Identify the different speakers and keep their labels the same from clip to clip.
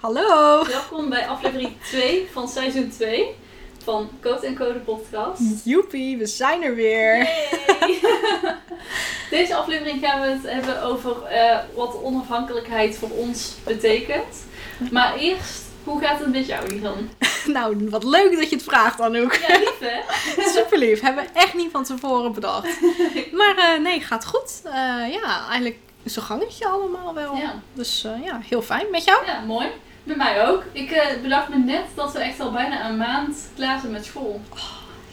Speaker 1: Hallo!
Speaker 2: Welkom bij aflevering 2 van seizoen 2 van Code Code podcast.
Speaker 1: Joepie, we zijn er weer!
Speaker 2: Yay. Deze aflevering gaan we het hebben over eh, wat onafhankelijkheid voor ons betekent. Maar eerst, hoe gaat het met jou, Lisan?
Speaker 1: Nou, wat leuk dat je het vraagt, Anouk.
Speaker 2: Ja, lief hè?
Speaker 1: Super lief, hebben we echt niet van tevoren bedacht. Maar eh, nee, gaat goed. Eh, ja, eigenlijk zo'n gangetje allemaal wel.
Speaker 2: Ja,
Speaker 1: Dus eh, ja, heel fijn. Met jou?
Speaker 2: ja mooi. Bij mij ook. Ik eh, bedacht me net dat we echt al bijna een maand klaar zijn met school.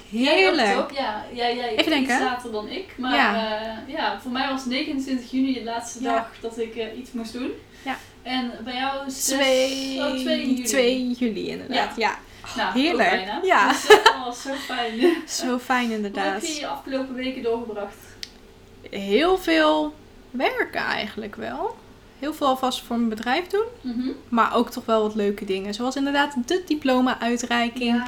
Speaker 2: Jij ook, toch? Ja, jij, jij
Speaker 1: Ik denk,
Speaker 2: iets
Speaker 1: hè?
Speaker 2: later dan ik. Maar
Speaker 1: Ja.
Speaker 2: eh, ja, voor mij was 29 juni de laatste
Speaker 1: Ja.
Speaker 2: dag dat ik eh, iets moest doen.
Speaker 1: Ja.
Speaker 2: En bij jou is
Speaker 1: 2
Speaker 2: oh, 2 juli.
Speaker 1: 2 juli inderdaad, ja.
Speaker 2: Nou,
Speaker 1: Heerlijk.
Speaker 2: ook bijna.
Speaker 1: Ja.
Speaker 2: Dus dat was zo fijn.
Speaker 1: Zo fijn
Speaker 2: Hoe heb je
Speaker 1: inderdaad.
Speaker 2: je afgelopen weken doorgebracht?
Speaker 1: Heel veel werken eigenlijk wel. Heel veel alvast voor mijn bedrijf doen.
Speaker 2: Mhm.
Speaker 1: Maar ook toch wel wat leuke dingen. Zoals inderdaad de diploma-uitreiking.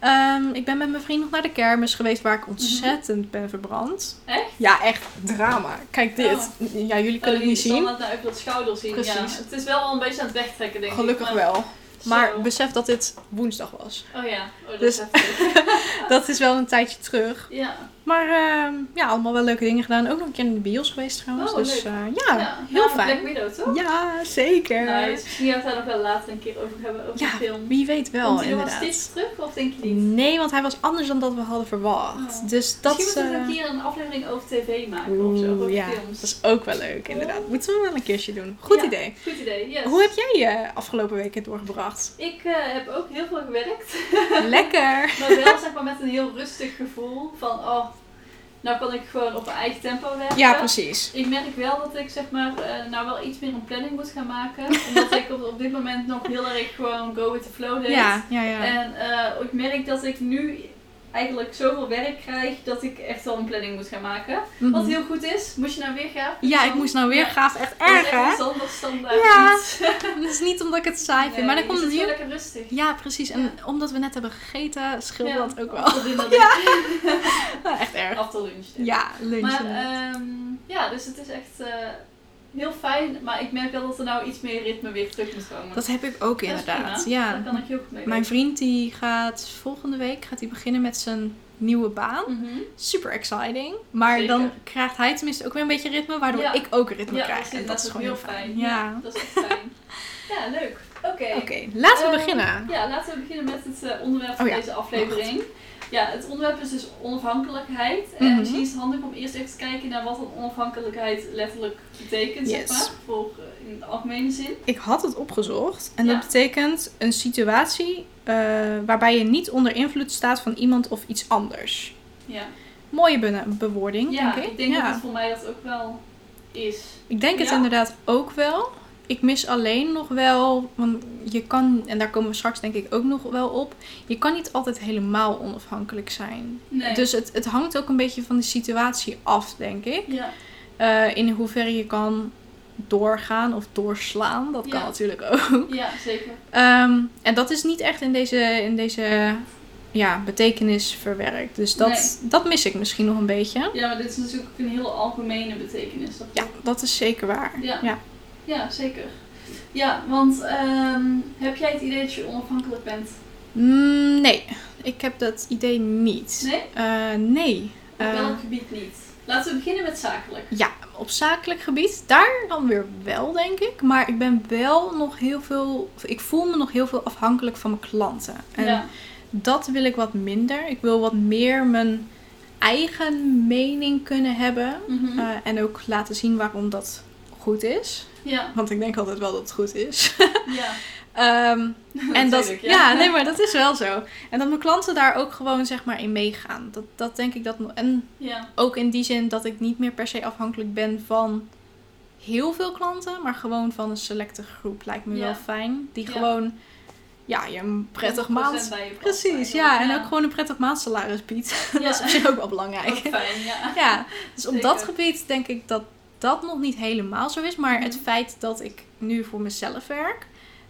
Speaker 2: Ja.
Speaker 1: Ehm, ik ben met mijn vriend nog naar de kermis geweest waar ik ontzettend ben verbrand.
Speaker 2: Mhm. Echt?
Speaker 1: Ja, echt drama. Kijk dit. Ja, jullie kunnen
Speaker 2: Oh,
Speaker 1: het niet
Speaker 2: die zal
Speaker 1: zien.
Speaker 2: dat nou even dat schouder zien.
Speaker 1: Precies.
Speaker 2: Ja. Het is wel al een beetje aan het wegtrekken, denk ik.
Speaker 1: Gelukkig
Speaker 2: maar-
Speaker 1: wel.
Speaker 2: Zo.
Speaker 1: Maar besef dat dit woensdag was.
Speaker 2: Oh ja, oh, dat
Speaker 1: Dus-
Speaker 2: is heftig.
Speaker 1: Dat is wel een tijdje terug.
Speaker 2: ja.
Speaker 1: Maar ehm, ja, allemaal wel leuke dingen gedaan. Ook nog een keer in de bios geweest trouwens.
Speaker 2: Oh,
Speaker 1: dus
Speaker 2: leuk.
Speaker 1: eh, ja, heel
Speaker 2: nou,
Speaker 1: fijn.
Speaker 2: Black Widow, toch?
Speaker 1: Ja, zeker.
Speaker 2: Nice. Misschien gaan we het daar nog wel later een keer over hebben, over de
Speaker 1: Ja,
Speaker 2: film.
Speaker 1: wie weet wel
Speaker 2: Komt hij nog
Speaker 1: inderdaad.
Speaker 2: steeds terug, of denk je niet?
Speaker 1: Nee, want hij was anders dan dat we hadden verwacht.
Speaker 2: Oh.
Speaker 1: Dus dat
Speaker 2: Misschien moeten we
Speaker 1: eh,
Speaker 2: een keer een aflevering over tv maken of zo,
Speaker 1: oeh,
Speaker 2: over
Speaker 1: ja, dat
Speaker 2: films.
Speaker 1: is ook wel leuk inderdaad. Moeten we wel een keertje doen. Goed
Speaker 2: Ja.
Speaker 1: idee.
Speaker 2: Goed idee, yes.
Speaker 1: Hoe heb jij je afgelopen weken doorgebracht?
Speaker 2: Ik eh, heb ook heel veel gewerkt.
Speaker 1: Lekker.
Speaker 2: Maar wel zeg maar met een heel rustig gevoel van oh, nou kan ik gewoon op mijn eigen tempo werken.
Speaker 1: Ja, precies.
Speaker 2: Ik merk wel dat ik zeg maar eh, nou wel iets meer een planning moet gaan maken. Omdat ik op, op dit moment nog heel erg gewoon go with the flow deed.
Speaker 1: Ja, ja, ja.
Speaker 2: En eh, ik merk dat ik nu eigenlijk zoveel werk krijg dat ik echt wel een planning moet gaan maken.
Speaker 1: Mhm.
Speaker 2: Wat heel goed is, moest je naar weer gaan.
Speaker 1: Ja, ik moest nou weer
Speaker 2: Ja.
Speaker 1: gaaf. Echt
Speaker 2: Dat is
Speaker 1: erg,
Speaker 2: echt
Speaker 1: hè?
Speaker 2: een zonder standaard
Speaker 1: Ja.
Speaker 2: eh, iets.
Speaker 1: Dat is niet omdat ik het saai vind,
Speaker 2: Nee,
Speaker 1: maar dan
Speaker 2: je
Speaker 1: komt
Speaker 2: zit
Speaker 1: het
Speaker 2: gewoon
Speaker 1: hier.
Speaker 2: lekker rustig.
Speaker 1: Ja, precies. En omdat we net hebben gegeten, scheelt
Speaker 2: Ja,
Speaker 1: dat ook wel.
Speaker 2: Af tot in de lunch.
Speaker 1: Echt erg.
Speaker 2: Af tot lunch. denk ik.
Speaker 1: Ja, lunch.
Speaker 2: Maar
Speaker 1: inderdaad.
Speaker 2: ehm, ja, dus het is echt eh, heel fijn. Maar ik merk wel dat er nou iets meer ritme weer terug moet komen.
Speaker 1: dat heb ik ook
Speaker 2: Dat is
Speaker 1: inderdaad.
Speaker 2: prima.
Speaker 1: Ja.
Speaker 2: Daar kan ik heel goed mee
Speaker 1: Mijn
Speaker 2: leven.
Speaker 1: vriend die gaat volgende week gaat hij beginnen met zijn nieuwe baan.
Speaker 2: Mhm.
Speaker 1: Super exciting. Maar
Speaker 2: Zeker.
Speaker 1: dan krijgt hij tenminste ook weer een beetje ritme, waardoor
Speaker 2: Ja.
Speaker 1: ik ook ritme
Speaker 2: Ja,
Speaker 1: krijg.
Speaker 2: precies,
Speaker 1: En dat is gewoon heel fijn.
Speaker 2: Ja.
Speaker 1: Ja.
Speaker 2: dat is echt fijn. ja, leuk. Oké.
Speaker 1: Oké, laten we
Speaker 2: Eh,
Speaker 1: beginnen.
Speaker 2: Ja, laten we beginnen met het eh, onderwerp van
Speaker 1: Oh ja,
Speaker 2: deze aflevering. Ja, het onderwerp is dus onafhankelijkheid. En
Speaker 1: Mhm.
Speaker 2: misschien is het handig om eerst even te kijken naar wat een onafhankelijkheid letterlijk betekent, zeg
Speaker 1: Yes.
Speaker 2: maar. Voor, eh, in de algemene zin.
Speaker 1: Ik had het opgezocht en dat
Speaker 2: Ja.
Speaker 1: betekent een situatie eh, waarbij je niet onder invloed staat van iemand of iets anders.
Speaker 2: Ja,
Speaker 1: Mooie be- bewoording,
Speaker 2: ja
Speaker 1: denk ik.
Speaker 2: ik denk
Speaker 1: ja.
Speaker 2: dat het voor mij dat ook wel is.
Speaker 1: Ik denk het
Speaker 2: Ja?
Speaker 1: inderdaad ook wel. Ik mis alleen nog wel, want je kan, en daar komen we straks denk ik ook nog wel op, je kan niet altijd helemaal onafhankelijk zijn.
Speaker 2: Nee.
Speaker 1: Dus het, het hangt ook een beetje van de situatie af, denk ik.
Speaker 2: Ja,
Speaker 1: Eh, in hoeverre je kan doorgaan of doorslaan, dat kan
Speaker 2: Ja.
Speaker 1: natuurlijk ook.
Speaker 2: ja zeker.
Speaker 1: Ehm, en dat is niet echt in deze, in deze ja, betekenis verwerkt. Dus dat, dat mis ik misschien nog een beetje.
Speaker 2: Ja, maar dit is natuurlijk ook een heel algemene betekenis. Dat
Speaker 1: Ja, dat is zeker waar.
Speaker 2: Ja.
Speaker 1: Ja.
Speaker 2: ja, zeker. Ja, want ehm, heb jij het idee dat je onafhankelijk bent?
Speaker 1: Mm, nee, ik heb dat idee niet.
Speaker 2: Nee?
Speaker 1: Eh, nee.
Speaker 2: Op
Speaker 1: Eh,
Speaker 2: welk gebied niet? Laten we beginnen met zakelijk.
Speaker 1: ja, op zakelijk gebied, daar dan weer wel, denk ik. Maar ik ben wel nog heel veel, of ik voel me nog heel veel afhankelijk van mijn klanten. En
Speaker 2: ja.
Speaker 1: dat wil ik wat minder. Ik wil wat meer mijn eigen mening kunnen hebben.
Speaker 2: Mhm.
Speaker 1: Eh, en ook laten zien waarom dat goed is.
Speaker 2: ja,
Speaker 1: Want ik denk altijd wel dat het goed is.
Speaker 2: ja.
Speaker 1: Ehm, en dat,
Speaker 2: Natuurlijk,
Speaker 1: ja. nee, maar dat is wel zo. En dat mijn klanten daar ook gewoon zeg maar in meegaan. Dat, dat denk ik dat. En
Speaker 2: Ja,
Speaker 1: ook in die zin dat ik niet meer per se afhankelijk ben van heel veel klanten, maar gewoon van een selecte groep lijkt me
Speaker 2: Ja.
Speaker 1: wel fijn. Die
Speaker 2: Ja.
Speaker 1: gewoon ja, je een prettig
Speaker 2: 100%
Speaker 1: maand.
Speaker 2: bij je past
Speaker 1: Precies,
Speaker 2: eigenlijk.
Speaker 1: ja. En ook gewoon een prettig maandsalaris biedt.
Speaker 2: Ja.
Speaker 1: Dat is op zich ook wel belangrijk.
Speaker 2: Ook fijn, ja.
Speaker 1: Ja, dus op
Speaker 2: Zeker.
Speaker 1: dat gebied denk ik dat dat nog niet helemaal zo is. Maar het
Speaker 2: Mhm.
Speaker 1: feit dat ik nu voor mezelf werk,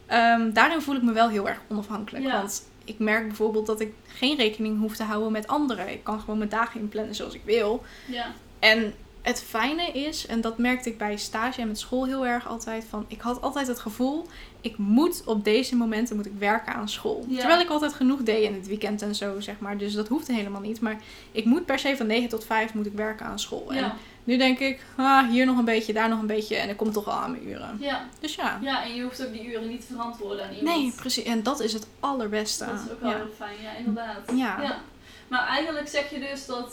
Speaker 1: ehm, daarin voel ik me wel heel erg onafhankelijk.
Speaker 2: Ja.
Speaker 1: Want ik merk bijvoorbeeld dat ik geen rekening hoef te houden met anderen. Ik kan gewoon mijn dagen inplannen zoals ik wil.
Speaker 2: ja.
Speaker 1: En het fijne is, en dat merkte ik bij stage en met school heel erg altijd, van ik had altijd het gevoel, ik moet op deze momenten moet ik werken aan school.
Speaker 2: Ja.
Speaker 1: Terwijl ik altijd genoeg deed in het weekend en zo, zeg maar. Dus dat hoefde helemaal niet. Maar ik moet per se van 9 tot 5 moet ik werken aan school. Oh, En
Speaker 2: Ja.
Speaker 1: nu denk ik, ah, hier nog een beetje, daar nog een beetje en ik kom toch al aan mijn uren.
Speaker 2: Ja.
Speaker 1: Dus ja.
Speaker 2: ja, en je hoeft ook die uren niet te verantwoorden aan iemand.
Speaker 1: Nee, precies. En dat is het allerbeste.
Speaker 2: Dat is ook wel
Speaker 1: Ah, ja.
Speaker 2: heel fijn, ja, inderdaad.
Speaker 1: Ja.
Speaker 2: Maar eigenlijk zeg je dus dat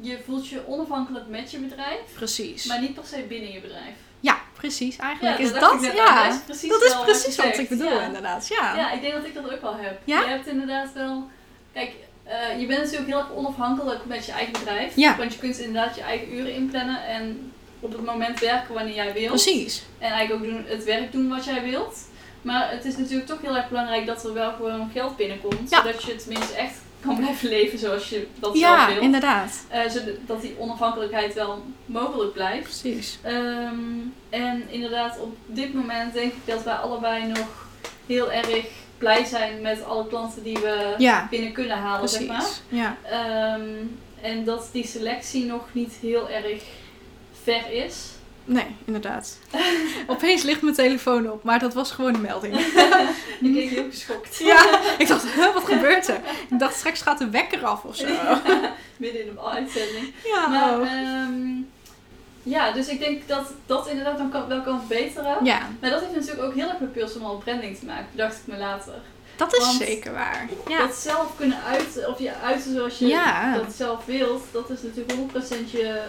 Speaker 2: je voelt je onafhankelijk met je bedrijf,
Speaker 1: Precies.
Speaker 2: maar niet per se binnen je bedrijf.
Speaker 1: Ja, precies. Eigenlijk is
Speaker 2: dacht
Speaker 1: dat.
Speaker 2: ik net al.
Speaker 1: ja.
Speaker 2: Dat is precies,
Speaker 1: dat is
Speaker 2: wel
Speaker 1: precies
Speaker 2: je
Speaker 1: wat
Speaker 2: zegt,
Speaker 1: ik bedoel,
Speaker 2: ja.
Speaker 1: inderdaad. Ja.
Speaker 2: Ja, ik denk dat ik dat ook wel heb.
Speaker 1: Ja?
Speaker 2: Je hebt inderdaad wel. Kijk, eh, je bent natuurlijk heel erg onafhankelijk met je eigen bedrijf.
Speaker 1: Ja.
Speaker 2: Want je kunt inderdaad je eigen uren inplannen en op het moment werken wanneer jij wilt.
Speaker 1: Precies.
Speaker 2: En eigenlijk ook doen, het werk doen wat jij wilt. Maar het is natuurlijk toch heel erg belangrijk dat er wel gewoon geld binnenkomt.
Speaker 1: Ja.
Speaker 2: Zodat je tenminste echt kan blijven leven zoals je dat
Speaker 1: Ja,
Speaker 2: zelf wilt.
Speaker 1: inderdaad.
Speaker 2: Eh, zodat die onafhankelijkheid wel mogelijk blijft.
Speaker 1: Precies.
Speaker 2: Ehm, en inderdaad, op dit moment denk ik dat wij allebei nog heel erg blij zijn met alle klanten die we
Speaker 1: Ja,
Speaker 2: binnen kunnen halen, zeg maar.
Speaker 1: precies. Ja.
Speaker 2: Ehm, en dat die selectie nog niet heel erg ver is.
Speaker 1: Nee, inderdaad. Opeens ligt mijn telefoon op, maar dat was gewoon een melding.
Speaker 2: Ik keek heel geschokt.
Speaker 1: Ja, ik dacht, huh, wat gebeurt er? Ik dacht, straks gaat de wekker af of zo.
Speaker 2: Midden in de uitzending.
Speaker 1: Ja,
Speaker 2: Maar,
Speaker 1: oh.
Speaker 2: ehm, ja, dus ik denk dat dat inderdaad dan kan, wel kan verbeteren.
Speaker 1: ja
Speaker 2: Maar dat heeft natuurlijk ook heel erg met personal branding te maken, bedacht ik me later.
Speaker 1: dat is
Speaker 2: want-
Speaker 1: zeker waar. Ja,
Speaker 2: dat zelf kunnen uiten, of je uiten zoals je
Speaker 1: Ja.
Speaker 2: dat zelf wilt, dat is natuurlijk 100% je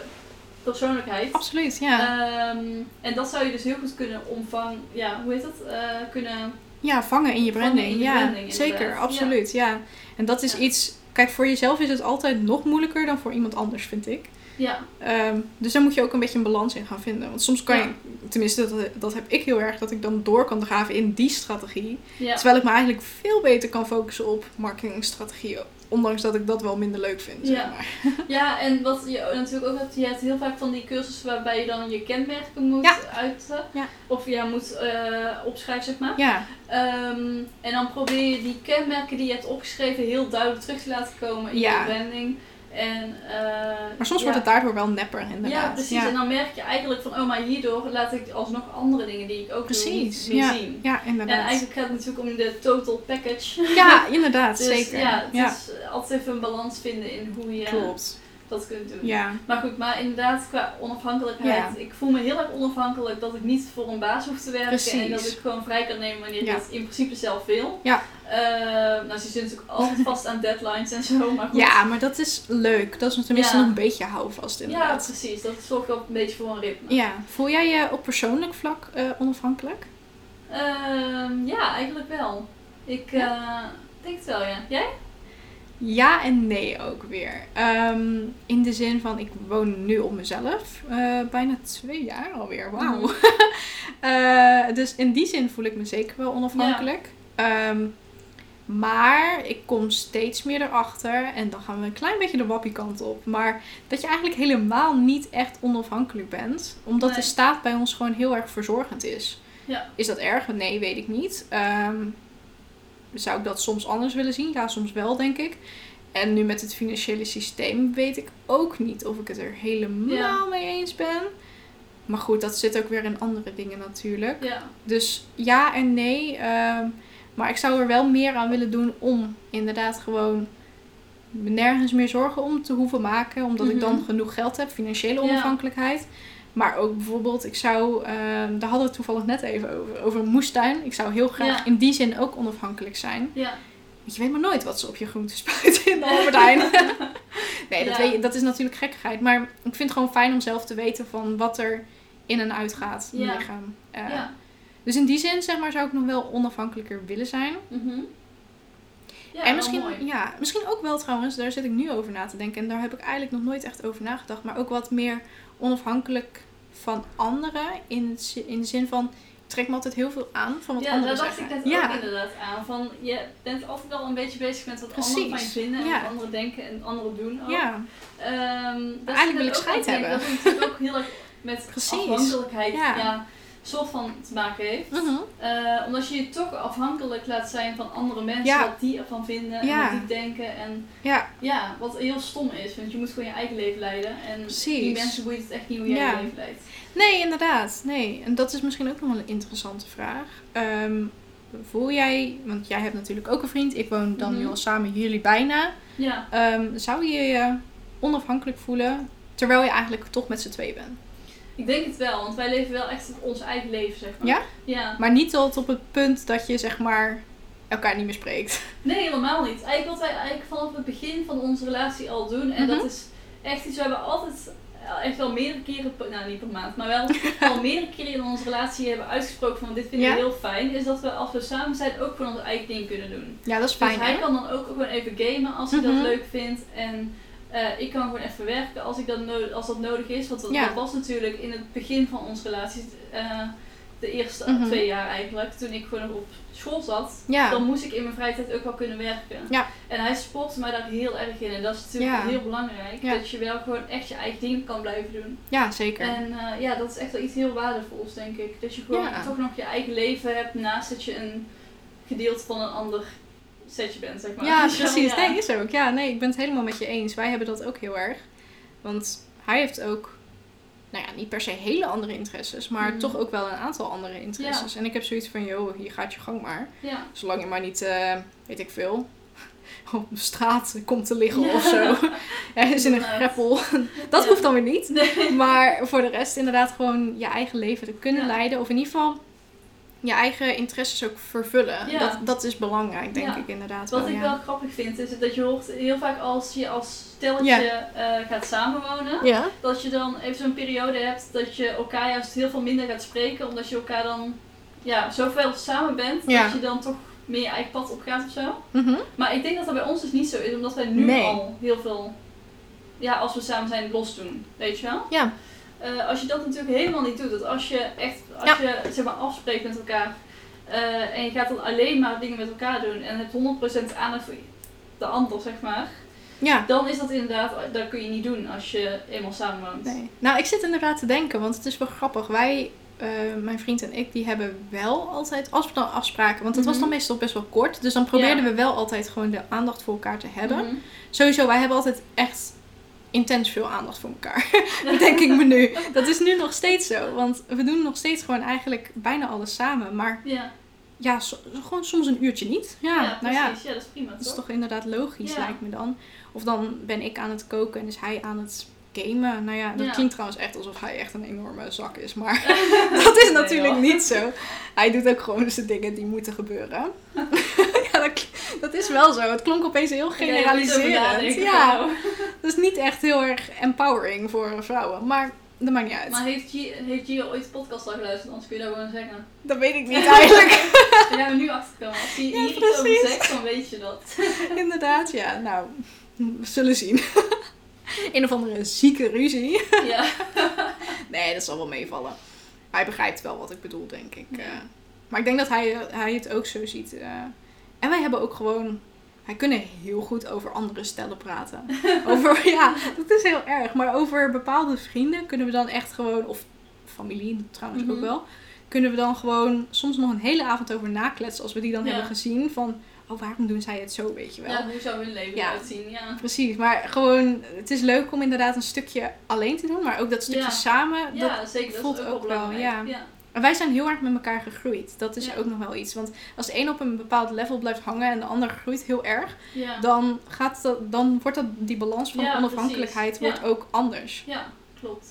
Speaker 2: persoonlijkheid.
Speaker 1: absoluut. Ja,
Speaker 2: Ehm, en dat zou je dus heel goed kunnen omvangen, ja, hoe heet dat? Eh, kunnen,
Speaker 1: ja vangen in je
Speaker 2: vangen in
Speaker 1: branding.
Speaker 2: je
Speaker 1: Ja,
Speaker 2: branding,
Speaker 1: zeker,
Speaker 2: inderdaad.
Speaker 1: absoluut. Ja. En dat is
Speaker 2: Ja.
Speaker 1: iets... Kijk, voor jezelf is het altijd nog moeilijker dan voor iemand anders, vind ik.
Speaker 2: ja,
Speaker 1: Ehm, dus daar moet je ook een beetje een balans in gaan vinden. Want soms kan
Speaker 2: Ja.
Speaker 1: je, tenminste, dat, dat heb ik heel erg, dat ik dan door kan draven in die strategie.
Speaker 2: ja,
Speaker 1: Terwijl ik me eigenlijk veel beter kan focussen op marketingstrategieën. Ondanks dat ik dat wel minder leuk vind.
Speaker 2: Ja.
Speaker 1: Zeg maar.
Speaker 2: ja, en wat je natuurlijk ook hebt, je hebt heel vaak van die cursussen waarbij je dan je kenmerken moet
Speaker 1: Ja.
Speaker 2: uiten,
Speaker 1: Ja.
Speaker 2: of je moet eh, opschrijven, zeg maar.
Speaker 1: Ja,
Speaker 2: Ehm, en dan probeer je die kenmerken die je hebt opgeschreven heel duidelijk terug te laten komen in
Speaker 1: Ja.
Speaker 2: je branding. En, eh,
Speaker 1: maar soms
Speaker 2: ja.
Speaker 1: wordt het daardoor wel nepper, inderdaad.
Speaker 2: Ja, precies. En dan merk je eigenlijk van, oh, maar hierdoor laat ik alsnog andere dingen die ik ook doe
Speaker 1: Precies,
Speaker 2: niet meer
Speaker 1: ja.
Speaker 2: zien.
Speaker 1: Ja,
Speaker 2: En
Speaker 1: inderdaad.
Speaker 2: eigenlijk gaat het natuurlijk om de total package.
Speaker 1: Ja, inderdaad,
Speaker 2: Dus
Speaker 1: zeker.
Speaker 2: ja, het
Speaker 1: Ja,
Speaker 2: is altijd even een balans vinden in hoe je
Speaker 1: klopt.
Speaker 2: dat kunt doen.
Speaker 1: Ja.
Speaker 2: Maar goed, maar inderdaad qua onafhankelijkheid. Ik voel me heel erg onafhankelijk dat ik niet voor een baas hoef te werken. En dat
Speaker 1: Precies.
Speaker 2: ik gewoon vrij kan nemen wanneer
Speaker 1: Ja.
Speaker 2: ik dat in principe zelf wil.
Speaker 1: Ja.
Speaker 2: Eh, nou, ze zitten natuurlijk altijd vast aan deadlines en zo. Maar goed.
Speaker 1: ja, maar dat is leuk. Dat is tenminste
Speaker 2: Ja.
Speaker 1: nog een beetje houvast,
Speaker 2: Ja,
Speaker 1: inderdaad.
Speaker 2: precies. Dat zorgt wel een beetje voor een ritme.
Speaker 1: Ja, voel jij je op persoonlijk vlak eh, onafhankelijk?
Speaker 2: Ehm, ja, eigenlijk wel. Ik eh, denk het wel, ja. Jij?
Speaker 1: Ja en nee ook weer. Ehm, in de zin van, ik woon nu op mezelf. Eh, bijna twee jaar alweer, wauw.
Speaker 2: Mhm.
Speaker 1: Eh, dus in die zin voel ik me zeker wel onafhankelijk. Ehm, maar ik kom steeds meer erachter. En dan gaan we een klein beetje de wappie kant op. Maar dat je eigenlijk helemaal niet echt onafhankelijk bent. Omdat
Speaker 2: Nee.
Speaker 1: de staat bij ons gewoon heel erg verzorgend is.
Speaker 2: Ja.
Speaker 1: Is dat erg? Nee, weet ik niet. Ehm, zou ik dat soms anders willen zien? Ja, soms wel, denk ik. En nu met het financiële systeem weet ik ook niet of ik het er helemaal
Speaker 2: Ja.
Speaker 1: mee eens ben. Maar goed, dat zit ook weer in andere dingen natuurlijk.
Speaker 2: Ja.
Speaker 1: Dus ja en nee. ehm, maar ik zou er wel meer aan willen doen om inderdaad gewoon me nergens meer zorgen om te hoeven maken. Omdat ik dan
Speaker 2: Mhm.
Speaker 1: genoeg geld heb, financiële
Speaker 2: Ja.
Speaker 1: onafhankelijkheid. Maar ook bijvoorbeeld, ik zou, ehm, daar hadden we het toevallig net even over, over een moestuin. Ik zou heel graag
Speaker 2: Ja.
Speaker 1: in die zin ook onafhankelijk zijn.
Speaker 2: Ja.
Speaker 1: Want je weet maar nooit wat ze op je groenten spuiten in de Albert Heijn. nee, dat,
Speaker 2: Ja.
Speaker 1: weet je, dat is natuurlijk gekkigheid. Maar ik vind het gewoon fijn om zelf te weten van wat er in en uit gaat in je
Speaker 2: Ja.
Speaker 1: lichaam. Eh,
Speaker 2: Ja.
Speaker 1: dus in die zin, zeg maar, zou ik nog wel onafhankelijker willen zijn.
Speaker 2: Mhm. Ja,
Speaker 1: en
Speaker 2: wel
Speaker 1: misschien,
Speaker 2: mooi.
Speaker 1: ja, misschien ook wel trouwens, daar zit ik nu over na te denken. En daar heb ik eigenlijk nog nooit echt over nagedacht. Maar ook wat meer onafhankelijk van anderen. In, het zi- in de zin van, ik trek me altijd heel veel aan van wat
Speaker 2: ja, daar
Speaker 1: anderen
Speaker 2: dacht
Speaker 1: zeggen.
Speaker 2: ik net ook
Speaker 1: ja,
Speaker 2: inderdaad aan. Van, je bent altijd wel een beetje bezig met wat anderen van je
Speaker 1: Precies,
Speaker 2: vinden en
Speaker 1: ja.
Speaker 2: wat anderen denken en anderen doen ook.
Speaker 1: ja,
Speaker 2: Ehm,
Speaker 1: Eigenlijk
Speaker 2: dat zit
Speaker 1: wil
Speaker 2: er
Speaker 1: ik
Speaker 2: ook
Speaker 1: scheid
Speaker 2: aan te denken,
Speaker 1: hebben.
Speaker 2: Dat het natuurlijk ook heel erg met
Speaker 1: Precies.
Speaker 2: afhankelijkheid ja.
Speaker 1: Ja.
Speaker 2: soort van te maken heeft.
Speaker 1: Mhm.
Speaker 2: Eh, omdat je je toch afhankelijk laat zijn van andere mensen,
Speaker 1: Ja.
Speaker 2: wat die ervan vinden en
Speaker 1: Ja.
Speaker 2: wat die denken. En
Speaker 1: ja,
Speaker 2: ja, wat heel stom is, want je moet gewoon je eigen leven leiden. En
Speaker 1: Precies.
Speaker 2: die mensen boeit het echt niet hoe jij
Speaker 1: Ja.
Speaker 2: je leven leidt.
Speaker 1: nee, inderdaad. Nee. En dat is misschien ook nog wel een interessante vraag. Ehm, voel jij, want jij hebt natuurlijk ook een vriend, ik woon dan
Speaker 2: Mhm.
Speaker 1: nu al samen jullie bijna.
Speaker 2: Ja.
Speaker 1: Ehm, zou je je onafhankelijk voelen terwijl je eigenlijk toch met z'n twee bent?
Speaker 2: Ik denk het wel, want wij leven wel echt ons eigen leven, zeg maar.
Speaker 1: Ja?
Speaker 2: Ja.
Speaker 1: Maar niet tot op het punt dat je zeg maar elkaar niet meer spreekt.
Speaker 2: Nee, helemaal niet. Eigenlijk wat wij eigenlijk vanaf het begin van onze relatie al doen. En
Speaker 1: Mhm.
Speaker 2: dat is echt iets, we hebben altijd eh, echt wel meerdere keren, per- nou niet per maand, maar wel al meerdere keren in onze relatie hebben uitgesproken van dit vinden
Speaker 1: Ja.
Speaker 2: we heel fijn. Is dat we als we samen zijn ook gewoon ons eigen ding kunnen doen.
Speaker 1: Ja, dat is
Speaker 2: dus
Speaker 1: fijn
Speaker 2: hij
Speaker 1: hè?
Speaker 2: kan dan ook gewoon even gamen als hij
Speaker 1: Mhm.
Speaker 2: dat leuk vindt. En eh, ik kan gewoon even werken als, ik dat, no- als dat nodig is. Want dat,
Speaker 1: Ja.
Speaker 2: dat was natuurlijk in het begin van onze relatie, eh, de eerste
Speaker 1: Mhm.
Speaker 2: twee jaar eigenlijk, toen ik gewoon nog op school zat dan
Speaker 1: Ja,
Speaker 2: moest ik in mijn vrije tijd ook wel kunnen werken.
Speaker 1: Ja.
Speaker 2: En hij sportte mij daar heel erg in. En dat is natuurlijk
Speaker 1: Ja.
Speaker 2: heel belangrijk.
Speaker 1: Ja.
Speaker 2: Dat je wel gewoon echt je eigen dingen kan blijven doen.
Speaker 1: ja zeker.
Speaker 2: En eh, ja, dat is echt wel iets heel waardevols, denk ik. Dat je gewoon
Speaker 1: Ja.
Speaker 2: toch nog je eigen leven hebt naast dat je een gedeelte van een ander setje bent, zeg maar.
Speaker 1: Ja,
Speaker 2: Dus
Speaker 1: precies.
Speaker 2: ja.
Speaker 1: Nee, is ook. Ja, nee, ik ben het helemaal met je eens. Wij hebben dat ook heel erg. Want hij heeft ook, nou ja, niet per se hele andere interesses, maar
Speaker 2: Mhm.
Speaker 1: toch ook wel een aantal andere interesses. En ik heb zoiets van, joh, hier gaat je gang maar.
Speaker 2: Ja.
Speaker 1: Zolang je maar niet, eh, weet ik veel, op straat komt te liggen
Speaker 2: Ja.
Speaker 1: of zo. Ergens in een
Speaker 2: Inderdaad.
Speaker 1: greppel. Dat
Speaker 2: Ja.
Speaker 1: hoeft dan weer niet.
Speaker 2: Nee.
Speaker 1: Maar voor de rest inderdaad gewoon je eigen leven te kunnen
Speaker 2: Ja.
Speaker 1: leiden. Of in ieder geval je eigen interesses ook vervullen.
Speaker 2: Ja.
Speaker 1: Dat, dat is belangrijk, denk
Speaker 2: Ja.
Speaker 1: ik inderdaad.
Speaker 2: Wat
Speaker 1: wel,
Speaker 2: ik
Speaker 1: Oh, ja.
Speaker 2: wel grappig vind, is dat je hoort heel vaak als je als stelletje eh, gaat samenwonen.
Speaker 1: Ja?
Speaker 2: dat je dan even zo'n periode hebt dat je elkaar juist heel veel minder gaat spreken, omdat je elkaar dan ja, zoveel samen bent,
Speaker 1: Ja.
Speaker 2: dat je dan toch meer je eigen pad op gaat of zo.
Speaker 1: Mhm.
Speaker 2: Maar ik denk dat dat bij ons dus niet zo is, omdat wij nu
Speaker 1: Nee.
Speaker 2: al heel veel, ja, als we samen zijn, los doen, weet je wel.
Speaker 1: Ja.
Speaker 2: Eh, als je dat natuurlijk helemaal niet doet, dat als je echt, als je zeg maar afspreekt met elkaar eh, en je gaat dan alleen maar dingen met elkaar doen en hebt 100% aandacht voor de ander, zeg maar,
Speaker 1: Ja.
Speaker 2: dan is dat inderdaad, dat kun je niet doen als je eenmaal samen woont.
Speaker 1: Nee. Nou, ik zit inderdaad te denken, want het is wel grappig. Wij, eh, mijn vriend en ik, die hebben wel altijd afspra- afspraken. Want het was dan
Speaker 2: Mhm.
Speaker 1: meestal best wel kort. Dus dan probeerden
Speaker 2: Ja.
Speaker 1: we wel altijd gewoon de aandacht voor elkaar te hebben.
Speaker 2: Mhm.
Speaker 1: Sowieso, wij hebben altijd echt intens veel aandacht voor elkaar. denk ik me nu. Dat is nu nog steeds zo. Want we doen nog steeds gewoon eigenlijk bijna alles samen. Maar
Speaker 2: Ja,
Speaker 1: ja, so- gewoon soms een uurtje niet. Ja,
Speaker 2: ja
Speaker 1: nou ja.
Speaker 2: precies. Ja, dat is prima,
Speaker 1: Dat is
Speaker 2: toch?
Speaker 1: toch inderdaad logisch,
Speaker 2: Ja.
Speaker 1: lijkt me dan. Of dan ben ik aan het koken en is hij aan het gamen. Nou ja, dat
Speaker 2: Ja.
Speaker 1: klinkt trouwens echt alsof hij echt een enorme zak is. Maar dat is natuurlijk
Speaker 2: hoor.
Speaker 1: niet zo. Hij doet ook gewoon zijn dingen die moeten gebeuren. ja, dat, kl- dat is wel zo. Het klonk opeens heel
Speaker 2: Ja, je moet erover
Speaker 1: generaliserend.
Speaker 2: nadenken.
Speaker 1: Ja, dat is niet echt heel erg empowering voor vrouwen. Maar dat maakt niet uit.
Speaker 2: Maar heeft Gio, heeft Gio ooit de podcast al geluisterd? Anders kun je dat gewoon zeggen.
Speaker 1: Dat weet ik niet eigenlijk.
Speaker 2: Daar gaan we nu achter komen. Als hij
Speaker 1: Ja,
Speaker 2: hier iets over
Speaker 1: precies.
Speaker 2: zegt, dan weet je dat.
Speaker 1: inderdaad, ja. Nou, we zullen zien. een of andere zieke ruzie.
Speaker 2: Ja.
Speaker 1: Nee, dat zal wel meevallen. Hij begrijpt wel wat ik bedoel, denk ik.
Speaker 2: Ja.
Speaker 1: Eh, maar ik denk dat hij, eh, hij het ook zo ziet. eh. en wij hebben ook gewoon... Wij kunnen heel goed over andere stellen praten. over, ja, dat is heel erg. Maar over bepaalde vrienden kunnen we dan echt gewoon... Of familie trouwens
Speaker 2: Mhm.
Speaker 1: ook wel. Kunnen we dan gewoon soms nog een hele avond over nakletsen. Als we die dan
Speaker 2: Ja.
Speaker 1: hebben gezien. Van, oh, waarom doen zij het zo, weet je wel.
Speaker 2: ja, hoe zou hun leven
Speaker 1: Ja.
Speaker 2: eruit zien? Ja.
Speaker 1: Precies, maar gewoon... Het is leuk om inderdaad een stukje alleen te doen. Maar ook dat stukje
Speaker 2: Ja.
Speaker 1: samen. dat-
Speaker 2: ja, zeker. Dat
Speaker 1: voelt
Speaker 2: is ook,
Speaker 1: ook wel,
Speaker 2: belangrijk.
Speaker 1: ja. en wij zijn heel hard met elkaar gegroeid. Dat is
Speaker 2: Ja.
Speaker 1: ook nog wel iets. Want als de een op een bepaald level blijft hangen en de ander groeit heel erg,
Speaker 2: Ja.
Speaker 1: dan, gaat dat, dan wordt dat, die balans van
Speaker 2: Ja,
Speaker 1: onafhankelijkheid
Speaker 2: precies. Ja.
Speaker 1: wordt ook anders.
Speaker 2: Ja, klopt.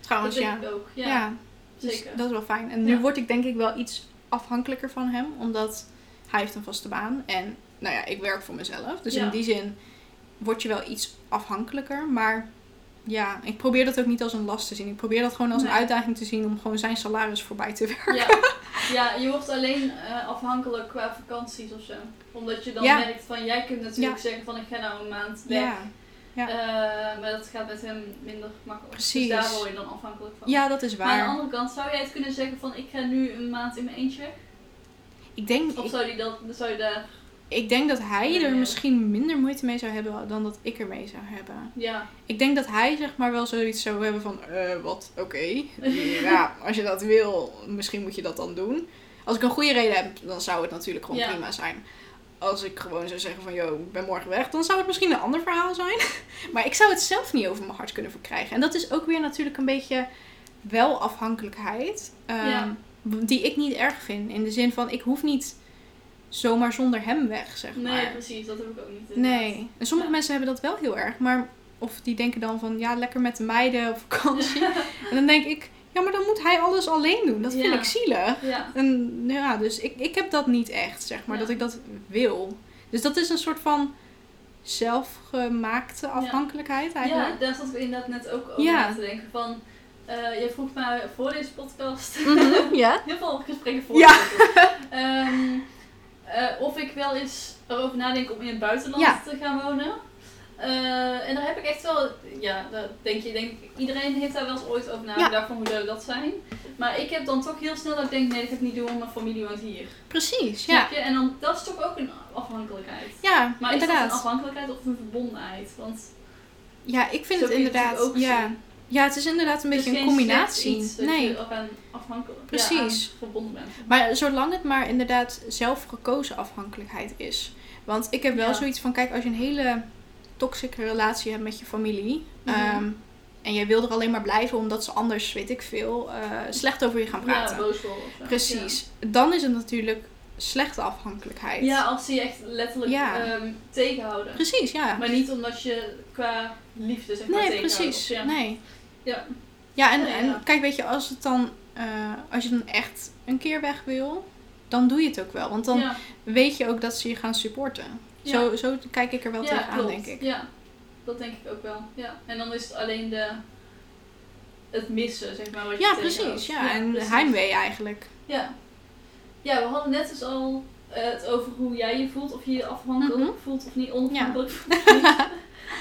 Speaker 1: Trouwens,
Speaker 2: dat
Speaker 1: ja.
Speaker 2: denk ik ook. Ja,
Speaker 1: ja. Dus
Speaker 2: zeker.
Speaker 1: dat is wel fijn. En nu
Speaker 2: Ja.
Speaker 1: word ik denk ik wel iets afhankelijker van hem, omdat hij heeft een vaste baan en nou ja, ik werk voor mezelf. Dus
Speaker 2: Ja.
Speaker 1: in die zin word je wel iets afhankelijker, maar ja, ik probeer dat ook niet als een last te zien. Ik probeer dat gewoon als een
Speaker 2: Nee.
Speaker 1: uitdaging te zien om gewoon zijn salaris voorbij te werken.
Speaker 2: Ja. ja, je wordt alleen eh, afhankelijk qua vakanties of zo. Omdat je dan
Speaker 1: Ja.
Speaker 2: merkt van, jij kunt natuurlijk
Speaker 1: Ja.
Speaker 2: zeggen van, ik ga nou een maand weg.
Speaker 1: Ja. Ja.
Speaker 2: Eh, maar dat gaat met hem minder makkelijk.
Speaker 1: Precies.
Speaker 2: Dus daar word je dan afhankelijk van.
Speaker 1: Ja, dat is
Speaker 2: Maar aan
Speaker 1: waar.
Speaker 2: de andere kant, zou jij het kunnen zeggen van ik ga nu een maand in mijn eentje?
Speaker 1: Ik denk,
Speaker 2: Of
Speaker 1: ik,
Speaker 2: zou, die dat, zou je daar...
Speaker 1: ik denk dat hij
Speaker 2: Ja.
Speaker 1: er misschien minder moeite mee zou hebben dan dat ik ermee zou hebben.
Speaker 2: Ja,
Speaker 1: Ik denk dat hij zeg maar wel zoiets zou hebben van, eh, wat, oké. Ja, als je dat wil, misschien moet je dat dan doen. Als ik een goede reden heb, dan zou het natuurlijk gewoon
Speaker 2: Ja.
Speaker 1: prima zijn. Als ik gewoon zou zeggen van, yo, ik ben morgen weg, dan zou het misschien een ander verhaal zijn. Maar ik zou het zelf niet over mijn hart kunnen verkrijgen. En dat is ook weer natuurlijk een beetje wel afhankelijkheid. ehm,
Speaker 2: Ja.
Speaker 1: Die ik niet erg vind. In de zin van, ik hoef niet zomaar zonder hem weg, zeg maar.
Speaker 2: nee precies, dat heb ik ook niet. inderdaad.
Speaker 1: Nee. En sommige
Speaker 2: Ja.
Speaker 1: mensen hebben dat wel heel erg. Maar of die denken dan van ja, lekker met de meiden op vakantie. en dan denk ik, ja, maar dan moet hij alles alleen doen. Dat vind
Speaker 2: Ja.
Speaker 1: ik zielig.
Speaker 2: Ja,
Speaker 1: En ja, dus ik, ik heb dat niet echt, zeg maar,
Speaker 2: Ja.
Speaker 1: dat ik dat wil. Dus dat is een soort van zelfgemaakte afhankelijkheid
Speaker 2: ja
Speaker 1: eigenlijk.
Speaker 2: daar zat ik inderdaad net ook over
Speaker 1: Ja.
Speaker 2: na te denken van... eh, jij vroeg mij voor deze podcast...
Speaker 1: Mhm, ja.
Speaker 2: Heel veel gesprekken voor.
Speaker 1: Ja.
Speaker 2: Ehm, eh, of ik wel eens erover nadenk om in het buitenland
Speaker 1: Ja.
Speaker 2: te gaan wonen. Eh, en daar heb ik echt wel, ja, daar denk je, denk ik, iedereen heeft daar wel eens ooit over nagedacht van hoe zou dat zijn. Maar ik heb dan toch heel snel dat ik denk, nee, dat ga ik niet doen, want mijn familie woont hier.
Speaker 1: Precies, ja.
Speaker 2: Snap je? En dan, dat is toch ook een afhankelijkheid.
Speaker 1: Ja,
Speaker 2: Maar is dat
Speaker 1: inderdaad.
Speaker 2: een afhankelijkheid of een verbondenheid? Want
Speaker 1: Ja, ik vind
Speaker 2: Zo
Speaker 1: het
Speaker 2: kun je het
Speaker 1: inderdaad.
Speaker 2: natuurlijk ook
Speaker 1: ja. ja, het is inderdaad een
Speaker 2: het is
Speaker 1: beetje een
Speaker 2: geen slecht
Speaker 1: combinatie.
Speaker 2: iets dat
Speaker 1: nee.
Speaker 2: je op aan afhankelijk,
Speaker 1: Precies.
Speaker 2: Ja, aan verbonden bent.
Speaker 1: Maar zolang het maar inderdaad zelf gekozen afhankelijkheid is. Want ik heb wel
Speaker 2: Ja.
Speaker 1: zoiets van, kijk, als je een hele toxische relatie hebt met je familie.
Speaker 2: Mhm.
Speaker 1: ehm, en jij wil er alleen maar blijven omdat ze anders, weet ik veel, eh, slecht over je gaan praten.
Speaker 2: Ja, boos worden of zo. Ja.
Speaker 1: Precies. Dan is het natuurlijk slechte afhankelijkheid.
Speaker 2: Ja, als ze je echt letterlijk
Speaker 1: Ja.
Speaker 2: ehm, tegenhouden.
Speaker 1: Precies, ja.
Speaker 2: Maar niet omdat je qua liefde zeg maar
Speaker 1: Nee,
Speaker 2: tegenhoudt.
Speaker 1: precies.
Speaker 2: Ja.
Speaker 1: Nee.
Speaker 2: Ja.
Speaker 1: Ja, en,
Speaker 2: Nee,
Speaker 1: en
Speaker 2: ja.
Speaker 1: kijk, weet je, als het dan, eh, als je dan echt een keer weg wil, dan doe je het ook wel. Want dan
Speaker 2: ja.
Speaker 1: weet je ook dat ze je gaan supporten.
Speaker 2: Ja.
Speaker 1: Zo, zo kijk ik er wel
Speaker 2: Ja,
Speaker 1: tegenaan,
Speaker 2: klopt.
Speaker 1: denk ik.
Speaker 2: Ja, dat denk ik ook wel. Ja. En dan is het alleen de, het missen, zeg maar. Wat je
Speaker 1: Ja,
Speaker 2: tegenhoudt.
Speaker 1: precies. Ja, en
Speaker 2: precies.
Speaker 1: heimwee eigenlijk.
Speaker 2: Ja. ja, we hadden net dus al eh, het over hoe jij je voelt. Of je je afhankelijk
Speaker 1: Mhm.
Speaker 2: voelt of niet onafhankelijk voelt.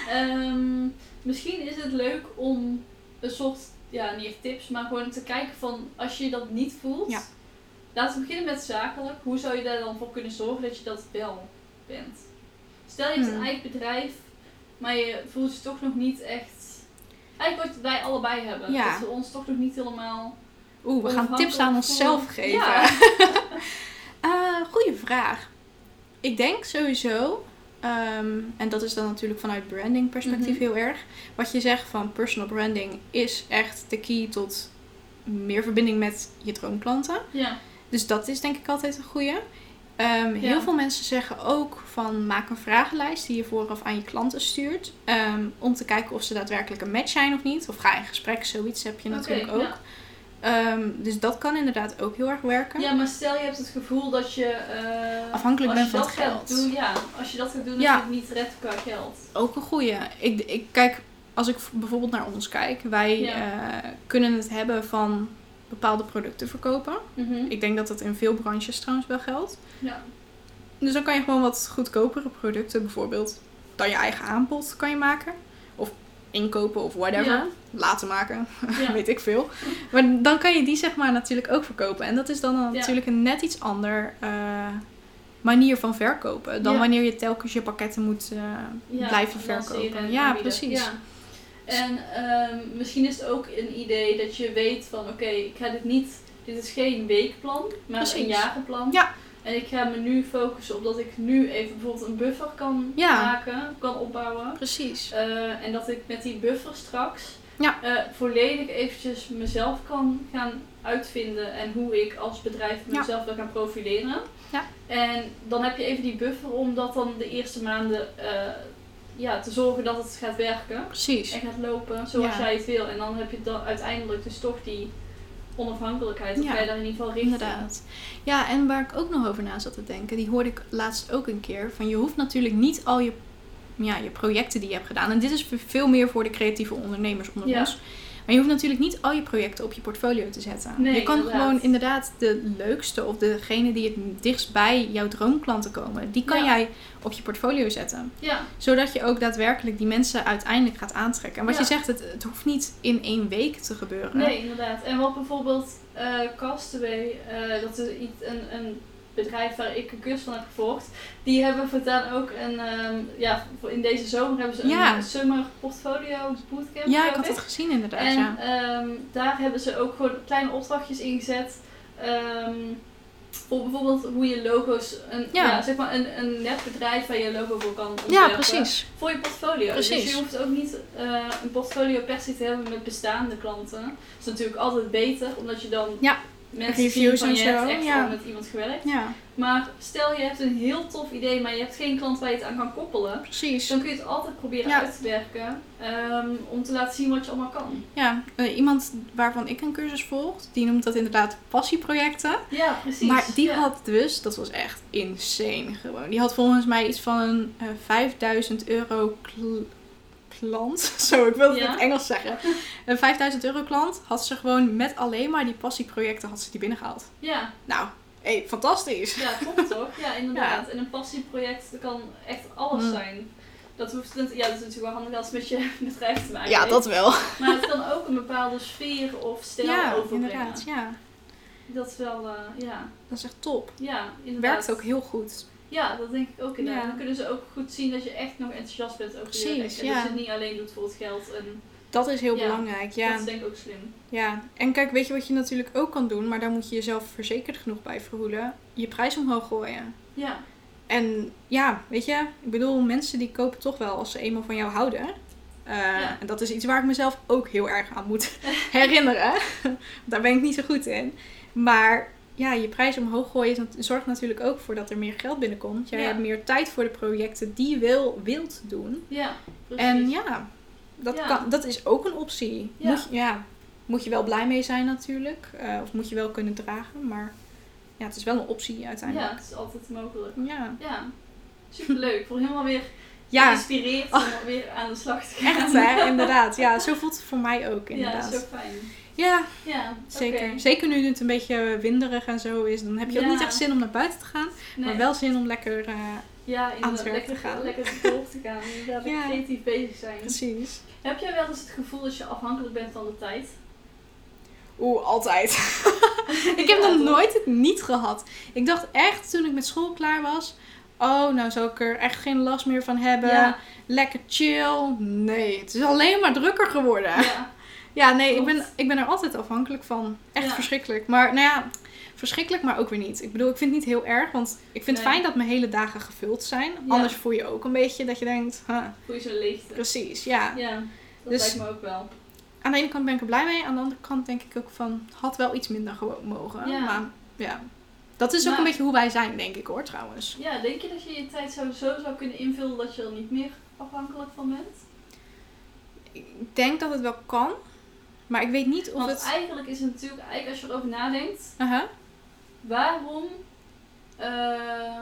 Speaker 2: Ehm, misschien is het leuk om een soort, ja niet echt tips, maar gewoon te kijken van als je dat niet voelt.
Speaker 1: Ja.
Speaker 2: Laten we beginnen met zakelijk. Hoe zou je daar dan voor kunnen zorgen dat je dat wel bent? Stel je hebt een
Speaker 1: Hmm.
Speaker 2: eigen bedrijf, maar je voelt je toch nog niet echt... Eigenlijk wat wij allebei hebben.
Speaker 1: Ja.
Speaker 2: Dat we ons toch nog niet helemaal...
Speaker 1: Oeh, we gaan tips aan onszelf geven.
Speaker 2: Ja.
Speaker 1: Eh, goeie vraag. Ik denk sowieso, ehm, en dat is dan natuurlijk vanuit branding perspectief
Speaker 2: Mhm.
Speaker 1: heel erg. Wat je zegt van personal branding is echt de key tot meer verbinding met je droomklanten.
Speaker 2: ja.
Speaker 1: Dus dat is denk ik altijd een goeie. Ehm,
Speaker 2: Ja.
Speaker 1: Heel veel mensen zeggen ook van maak een vragenlijst die je vooraf aan je klanten stuurt. ehm, om te kijken of ze daadwerkelijk een match zijn of niet. Of ga in gesprek, zoiets heb je
Speaker 2: Oké,
Speaker 1: natuurlijk
Speaker 2: ja.
Speaker 1: ook. Ehm, dus dat kan inderdaad ook heel erg werken.
Speaker 2: Ja, maar stel je hebt het gevoel dat je... eh,
Speaker 1: Afhankelijk
Speaker 2: als
Speaker 1: bent
Speaker 2: je
Speaker 1: van
Speaker 2: dat
Speaker 1: het
Speaker 2: gaat
Speaker 1: geld.
Speaker 2: Doen, ja, als je dat gaat doen, dan
Speaker 1: Ja.
Speaker 2: is het niet redt qua geld.
Speaker 1: Ook een goeie. Ik, ik kijk, als ik bijvoorbeeld naar ons kijk, wij
Speaker 2: Ja.
Speaker 1: eh, kunnen het hebben van bepaalde producten verkopen. Ik denk dat dat in veel branches trouwens wel geldt.
Speaker 2: Ja.
Speaker 1: Dus dan kan je gewoon wat goedkopere producten, bijvoorbeeld dan je eigen aanbod kan je maken. Of inkopen of whatever.
Speaker 2: Ja.
Speaker 1: Laten maken,
Speaker 2: Ja.
Speaker 1: weet ik veel. Maar dan kan je die zeg maar natuurlijk ook verkopen. En dat is dan een-
Speaker 2: Ja.
Speaker 1: natuurlijk een net iets ander eh, manier van verkopen. Dan
Speaker 2: Ja.
Speaker 1: wanneer je telkens je pakketten moet eh, blijven
Speaker 2: lanceren en
Speaker 1: verkopen. Ja,
Speaker 2: aanbieden.
Speaker 1: precies.
Speaker 2: Ja. En ehm, misschien is het ook een idee dat je weet van oké, ik ga dit niet, dit is geen weekplan, maar een
Speaker 1: Precies.
Speaker 2: jarenplan.
Speaker 1: Ja.
Speaker 2: En ik ga me nu focussen op dat ik nu even bijvoorbeeld een buffer kan
Speaker 1: Ja.
Speaker 2: maken, kan opbouwen.
Speaker 1: Precies.
Speaker 2: Eh, en dat ik met die buffer straks
Speaker 1: Ja.
Speaker 2: eh, volledig eventjes mezelf kan gaan uitvinden en hoe ik als bedrijf
Speaker 1: Ja.
Speaker 2: mezelf wil gaan profileren.
Speaker 1: Ja.
Speaker 2: En dan heb je even die buffer om dat dan de eerste maanden eh, ja, te zorgen dat het gaat werken
Speaker 1: Precies.
Speaker 2: en gaat lopen zoals
Speaker 1: Ja.
Speaker 2: jij het wil. En dan heb je dan uiteindelijk dus toch die onafhankelijkheid, of
Speaker 1: Ja.
Speaker 2: ga je daar in ieder geval richten.
Speaker 1: Inderdaad. Ja, en waar ik ook nog over na zat te denken, die hoorde ik laatst ook een keer. Van je hoeft natuurlijk niet al je, ja, je projecten die je hebt gedaan. En dit is veel meer voor de creatieve ondernemers onder
Speaker 2: Ja.
Speaker 1: ons. Maar je hoeft natuurlijk niet al je projecten op je portfolio te zetten.
Speaker 2: Nee,
Speaker 1: je kan
Speaker 2: inderdaad.
Speaker 1: gewoon inderdaad de leukste of degene die het dichtst bij jouw droomklanten komen, die kan
Speaker 2: Ja.
Speaker 1: jij op je portfolio zetten.
Speaker 2: Ja,
Speaker 1: Zodat je ook daadwerkelijk die mensen uiteindelijk gaat aantrekken. En wat
Speaker 2: Ja.
Speaker 1: je zegt, het, het hoeft niet in één week te gebeuren.
Speaker 2: nee, inderdaad. En wat bijvoorbeeld eh, Castaway, eh, dat is iets, een, een bedrijf waar ik een cursus van heb gevolgd, die hebben voortaan ook een, ehm, ja, voor in deze zomer hebben ze een
Speaker 1: Ja.
Speaker 2: summer portfolio bootcamp.
Speaker 1: Ja, ik
Speaker 2: geloof
Speaker 1: had dat gezien inderdaad.
Speaker 2: En
Speaker 1: ja.
Speaker 2: ehm, daar hebben ze ook gewoon kleine opdrachtjes ingezet. ehm, voor bijvoorbeeld hoe je logo's, een, ja.
Speaker 1: Ja.
Speaker 2: zeg maar een, een net bedrijf waar je logo voor kan ontwerpen.
Speaker 1: ja, precies.
Speaker 2: Voor je portfolio. Dus
Speaker 1: Precies.
Speaker 2: je hoeft ook niet eh, een portfolio per se te hebben met bestaande klanten. Dat is natuurlijk altijd beter, omdat je dan
Speaker 1: Ja.
Speaker 2: mensen zien
Speaker 1: Reviews
Speaker 2: van
Speaker 1: en
Speaker 2: je
Speaker 1: zo,
Speaker 2: hebt echt
Speaker 1: ja.
Speaker 2: al met iemand gewerkt.
Speaker 1: Ja,
Speaker 2: Maar stel je hebt een heel tof idee, maar je hebt geen klant waar je het aan kan koppelen. Dus
Speaker 1: precies.
Speaker 2: dan kun je het altijd proberen
Speaker 1: Ja.
Speaker 2: uit te werken ehm, om te laten zien wat je allemaal kan.
Speaker 1: Ja, eh, iemand waarvan ik een cursus volg, die noemt dat inderdaad passieprojecten.
Speaker 2: Ja, precies.
Speaker 1: Maar die
Speaker 2: ja.
Speaker 1: had dus, dat was echt insane gewoon. Die had volgens mij iets van een eh, 5000 euro kl- klant. Zo, ik wil het
Speaker 2: Ja.
Speaker 1: in het Engels zeggen. Een 5000 euro klant had ze gewoon met alleen maar die passieprojecten had ze die binnengehaald.
Speaker 2: Ja,
Speaker 1: Nou, hey, fantastisch.
Speaker 2: ja, klopt toch? Ja, inderdaad. En een passieproject dat kan echt alles
Speaker 1: Mm.
Speaker 2: zijn. Dat hoeft niet, ja, dat is natuurlijk wel handig als het met je bedrijf te maken
Speaker 1: Ja,
Speaker 2: heeft.
Speaker 1: dat wel.
Speaker 2: Maar het kan ook een bepaalde sfeer of stijl
Speaker 1: Ja,
Speaker 2: overbrengen.
Speaker 1: inderdaad. Ja,
Speaker 2: Dat is wel, eh, ja.
Speaker 1: dat is echt top.
Speaker 2: Ja, inderdaad.
Speaker 1: Werkt ook heel goed.
Speaker 2: Ja, dat denk ik ook inderdaad.
Speaker 1: Ja.
Speaker 2: Dan kunnen ze ook goed zien dat je echt nog enthousiast bent over je werk.
Speaker 1: Precies,
Speaker 2: En
Speaker 1: ja.
Speaker 2: dat je het niet alleen doet voor het geld. En
Speaker 1: Dat is heel
Speaker 2: Ja,
Speaker 1: belangrijk.
Speaker 2: dat
Speaker 1: Ja.
Speaker 2: is denk ik ook slim.
Speaker 1: ja. En kijk, weet je wat je natuurlijk ook kan doen, maar daar moet je jezelf verzekerd genoeg bij verhoelen? Je prijs omhoog gooien.
Speaker 2: Ja,
Speaker 1: En ja, weet je, ik bedoel, mensen die kopen toch wel als ze eenmaal van jou houden. Eh,
Speaker 2: Ja.
Speaker 1: En dat is iets waar ik mezelf ook heel erg aan moet herinneren. Daar ben ik niet zo goed in. Maar ja, je prijs omhoog gooien is nat- zorgt natuurlijk ook voor dat er meer geld binnenkomt. Jij
Speaker 2: Ja.
Speaker 1: hebt meer tijd voor de projecten die je wil, wilt doen.
Speaker 2: ja, precies.
Speaker 1: En ja, dat,
Speaker 2: Ja.
Speaker 1: Kan, dat is ook een optie.
Speaker 2: Ja.
Speaker 1: Moet, je- ja, moet je wel blij mee zijn natuurlijk. Eh, of moet je wel kunnen dragen. Maar ja, het is wel een optie
Speaker 2: ja,
Speaker 1: uiteindelijk.
Speaker 2: het is altijd mogelijk.
Speaker 1: ja.
Speaker 2: Ja, superleuk. Voor helemaal weer
Speaker 1: ja. Oh.
Speaker 2: geïnspireerd om weer aan de slag te gaan.
Speaker 1: Echt hè, inderdaad. Ja, zo voelt het voor mij ook
Speaker 2: Ja,
Speaker 1: inderdaad.
Speaker 2: dat is
Speaker 1: Ja,
Speaker 2: ook fijn. Ja,
Speaker 1: zeker.
Speaker 2: oké.
Speaker 1: Zeker nu het een beetje winderig en zo is, dan heb je
Speaker 2: Ja.
Speaker 1: ook niet echt zin om naar buiten te gaan,
Speaker 2: Nee.
Speaker 1: maar wel zin om lekker... eh,
Speaker 2: ja,
Speaker 1: aan het
Speaker 2: inderdaad,
Speaker 1: werk
Speaker 2: lekker,
Speaker 1: te gaan.
Speaker 2: lekker door te gaan. Inderdaad, lekker
Speaker 1: Ja.
Speaker 2: creatief bezig zijn.
Speaker 1: precies.
Speaker 2: Heb jij wel eens het gevoel dat je afhankelijk bent van de tijd?
Speaker 1: Oeh, altijd. ik heb
Speaker 2: Ja,
Speaker 1: nog
Speaker 2: toch?
Speaker 1: nooit het niet gehad. Ik dacht echt toen ik met school klaar was, oh nou zal ik er echt geen last meer van hebben.
Speaker 2: Ja,
Speaker 1: Lekker chill. Nee, het is alleen maar drukker geworden.
Speaker 2: ja,
Speaker 1: Ja, nee, ik
Speaker 2: Klopt.
Speaker 1: ben, ik ben er altijd afhankelijk van. Echt
Speaker 2: Ja.
Speaker 1: verschrikkelijk. Maar nou ja, verschrikkelijk, maar ook weer niet. Ik bedoel, ik vind het niet heel erg, want ik vind het
Speaker 2: Nee.
Speaker 1: fijn dat mijn hele dagen gevuld zijn.
Speaker 2: Ja.
Speaker 1: Anders voel je ook een beetje dat je denkt, huh,
Speaker 2: voel je zo'n leegte.
Speaker 1: precies, ja.
Speaker 2: Ja, dat
Speaker 1: Dus-
Speaker 2: lijkt me ook wel.
Speaker 1: Aan de ene kant ben ik er blij mee, aan de andere kant denk ik ook van, had wel iets minder gewoon mogen.
Speaker 2: Ja.
Speaker 1: Maar ja, dat is ook
Speaker 2: Maar-
Speaker 1: een beetje hoe wij zijn, denk ik hoor, trouwens.
Speaker 2: Ja, denk je dat je je tijd zo, zo zou kunnen invullen dat je er niet meer afhankelijk van bent?
Speaker 1: Ik denk dat het wel kan, maar ik weet niet of
Speaker 2: Want
Speaker 1: het...
Speaker 2: eigenlijk is het natuurlijk, eigenlijk als je erover nadenkt,
Speaker 1: Aha.
Speaker 2: waarom eh,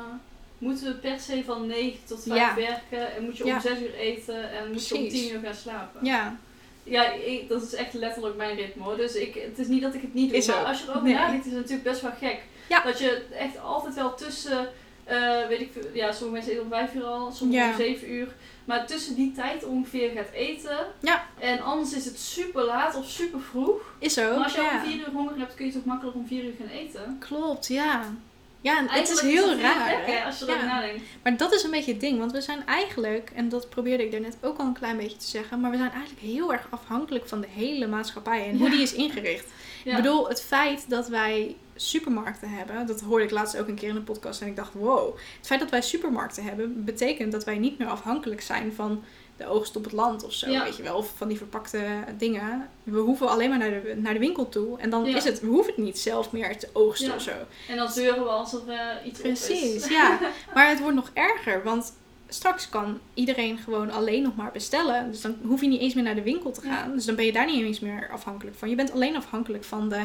Speaker 2: moeten we per se van 9 tot 5
Speaker 1: Ja.
Speaker 2: werken en moet je om
Speaker 1: Ja.
Speaker 2: 6 uur eten en moet je om
Speaker 1: Precies.
Speaker 2: 10 uur gaan slapen?
Speaker 1: Ja,
Speaker 2: Ja, ik- dat is echt letterlijk mijn ritme hoor. Dus ik, het is niet dat ik het niet doe.
Speaker 1: Is
Speaker 2: maar
Speaker 1: ook.
Speaker 2: als je erover
Speaker 1: Nee.
Speaker 2: nadenkt, is het natuurlijk best wel gek.
Speaker 1: Ja.
Speaker 2: Dat je echt altijd wel tussen, eh, weet ik veel, ja, sommige mensen eten om vijf uur al, sommige
Speaker 1: Ja.
Speaker 2: om zeven uur. Maar tussen die tijd ongeveer gaat eten.
Speaker 1: Ja.
Speaker 2: En anders is het super laat of super vroeg.
Speaker 1: is ook.
Speaker 2: maar als je
Speaker 1: ja.
Speaker 2: om vier uur honger hebt, kun je toch makkelijk om vier uur gaan eten.
Speaker 1: Klopt, ja. Ja, en het is
Speaker 2: Eigenlijk
Speaker 1: heel
Speaker 2: het
Speaker 1: raar.
Speaker 2: gek,
Speaker 1: hè?
Speaker 2: hè, als je erover
Speaker 1: Ja.
Speaker 2: nadenkt.
Speaker 1: Maar dat is een beetje het ding, want we zijn eigenlijk, en dat probeerde ik daarnet ook al een klein beetje te zeggen, maar we zijn eigenlijk heel erg afhankelijk van de hele maatschappij en hoe
Speaker 2: Ja.
Speaker 1: die is ingericht.
Speaker 2: Ja.
Speaker 1: Ik bedoel, het feit dat wij supermarkten hebben, dat hoorde ik laatst ook een keer in een podcast en ik dacht, wow, het feit dat wij supermarkten hebben, betekent dat wij niet meer afhankelijk zijn van de oogst op het land of zo,
Speaker 2: Ja.
Speaker 1: weet je wel, of van die verpakte dingen. We hoeven alleen maar naar de, naar de winkel toe en dan
Speaker 2: Ja.
Speaker 1: is het, we hoeven het niet zelf meer te oogsten
Speaker 2: Ja.
Speaker 1: of zo.
Speaker 2: En dan zeuren we als er eh, iets op is.
Speaker 1: Precies, ja. Maar het wordt nog erger, want straks kan iedereen gewoon alleen nog maar bestellen. Dus dan hoef je niet eens meer naar de winkel te
Speaker 2: Ja.
Speaker 1: gaan. Dus dan ben je daar niet eens meer afhankelijk van. Je bent alleen afhankelijk van de,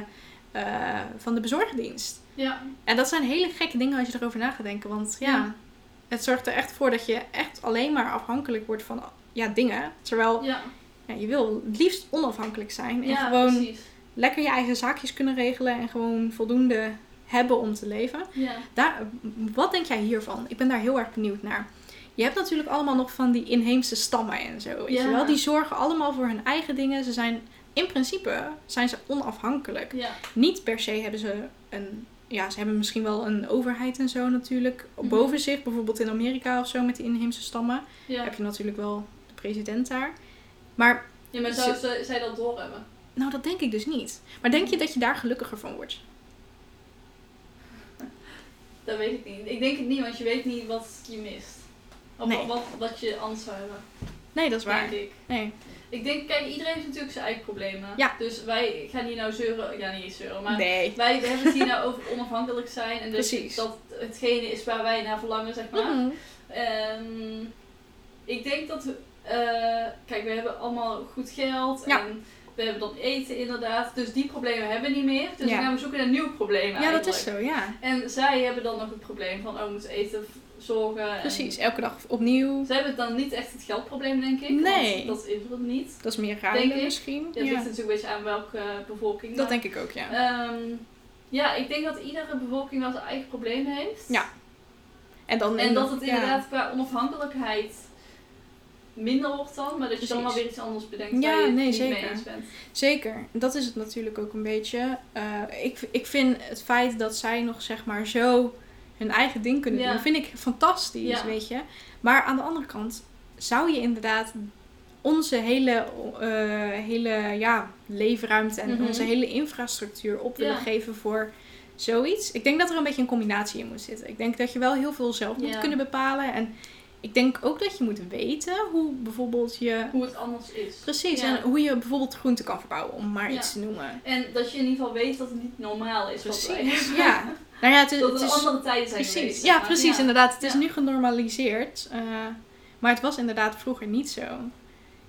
Speaker 1: eh, van de bezorgdienst.
Speaker 2: Ja,
Speaker 1: En dat zijn hele gekke dingen als je erover na gaat denken. Want ja,
Speaker 2: Ja.
Speaker 1: het zorgt er echt voor dat je echt alleen maar afhankelijk wordt van ja, dingen. Terwijl
Speaker 2: ja.
Speaker 1: ja, je wil het liefst onafhankelijk zijn. En
Speaker 2: ja,
Speaker 1: gewoon
Speaker 2: precies.
Speaker 1: lekker je eigen zaakjes kunnen regelen. En gewoon voldoende hebben om te leven.
Speaker 2: Ja.
Speaker 1: Daar, wat denk jij hiervan? Ik ben daar heel erg benieuwd naar. Je hebt natuurlijk allemaal nog van die inheemse stammen en zo. Weet
Speaker 2: Ja.
Speaker 1: je wel? Die zorgen allemaal voor hun eigen dingen. Ze zijn in principe zijn ze onafhankelijk.
Speaker 2: Ja.
Speaker 1: Niet per se hebben ze een. Ja, ze hebben misschien wel een overheid en zo natuurlijk.
Speaker 2: Mhm.
Speaker 1: Boven zich, bijvoorbeeld in Amerika of zo met die inheemse stammen.
Speaker 2: Ja.
Speaker 1: Heb je natuurlijk wel de president daar. Maar
Speaker 2: ja, maar zou ze, zij dat doorhebben?
Speaker 1: nou, dat denk ik dus niet. Maar denk
Speaker 2: Mhm.
Speaker 1: je dat je daar gelukkiger van wordt?
Speaker 2: Dat weet ik niet. Ik denk het niet, want je weet niet wat je mist. Of
Speaker 1: Nee.
Speaker 2: wat, wat je anders zou hebben,
Speaker 1: Nee, dat is waar.
Speaker 2: denk ik.
Speaker 1: Nee.
Speaker 2: Ik denk, kijk, iedereen heeft natuurlijk zijn eigen problemen.
Speaker 1: Ja.
Speaker 2: Dus wij gaan hier nou zeuren, ja niet eens zeuren, maar
Speaker 1: Nee.
Speaker 2: wij hebben het hier nou over onafhankelijk zijn. En dus
Speaker 1: Precies.
Speaker 2: dat hetgene is waar wij naar verlangen, zeg maar.
Speaker 1: Mhm.
Speaker 2: Ehm, ik denk dat we, eh, kijk, we hebben allemaal goed geld
Speaker 1: Ja.
Speaker 2: en we hebben dan eten inderdaad. Dus die problemen hebben we niet meer. Dus
Speaker 1: Ja.
Speaker 2: dan gaan we zoeken naar nieuwe problemen
Speaker 1: Ja, dat
Speaker 2: eigenlijk.
Speaker 1: is zo, ja.
Speaker 2: En zij hebben dan nog het probleem van, oh, we moeten eten, v- zorgen. en-
Speaker 1: Precies, elke dag opnieuw.
Speaker 2: Zij hebben dan niet echt het geldprobleem, denk ik.
Speaker 1: Nee.
Speaker 2: Want dat is er niet.
Speaker 1: Dat is meer ruimte
Speaker 2: Denk ik.
Speaker 1: misschien.
Speaker 2: Ja,
Speaker 1: Ja,
Speaker 2: Het ligt natuurlijk een beetje aan welke bevolking.
Speaker 1: Dat denk ik ook, ja.
Speaker 2: Ehm, ja, ik denk dat iedere bevolking wel zijn eigen probleem heeft.
Speaker 1: Ja. En, dan
Speaker 2: En dat het
Speaker 1: ja.
Speaker 2: inderdaad qua onafhankelijkheid minder wordt dan, maar dat je dan wel
Speaker 1: Precies.
Speaker 2: weer iets anders bedenkt
Speaker 1: Ja,
Speaker 2: waar je het
Speaker 1: nee,
Speaker 2: niet mee
Speaker 1: zeker.
Speaker 2: eens bent.
Speaker 1: Zeker, dat is het natuurlijk ook een beetje. Eh, ik, ik vind het feit dat zij nog zeg maar zo hun eigen ding kunnen
Speaker 2: Ja.
Speaker 1: doen, vind ik fantastisch,
Speaker 2: Ja.
Speaker 1: weet je. Maar aan de andere kant zou je inderdaad onze hele, eh, hele ja, leefruimte en
Speaker 2: Mhm.
Speaker 1: onze hele infrastructuur op willen
Speaker 2: Ja.
Speaker 1: geven voor zoiets. Ik denk dat er een beetje een combinatie in moet zitten. Ik denk dat je wel heel veel zelf moet
Speaker 2: Ja.
Speaker 1: kunnen bepalen. En ik denk ook dat je moet weten hoe bijvoorbeeld je
Speaker 2: Hoe het anders is.
Speaker 1: Precies,
Speaker 2: Ja.
Speaker 1: en hoe je bijvoorbeeld groenten kan verbouwen, om maar
Speaker 2: Ja.
Speaker 1: iets te noemen.
Speaker 2: En dat je in ieder geval weet dat het niet normaal is wat wij hebben.
Speaker 1: ja. Nou ja, het, is-
Speaker 2: Dat
Speaker 1: het
Speaker 2: het
Speaker 1: is...
Speaker 2: andere tijden zijn
Speaker 1: Precies,
Speaker 2: geweest,
Speaker 1: ja,
Speaker 2: zeg maar.
Speaker 1: precies, inderdaad. Het is
Speaker 2: Ja.
Speaker 1: nu genormaliseerd, eh, maar het was inderdaad vroeger niet zo.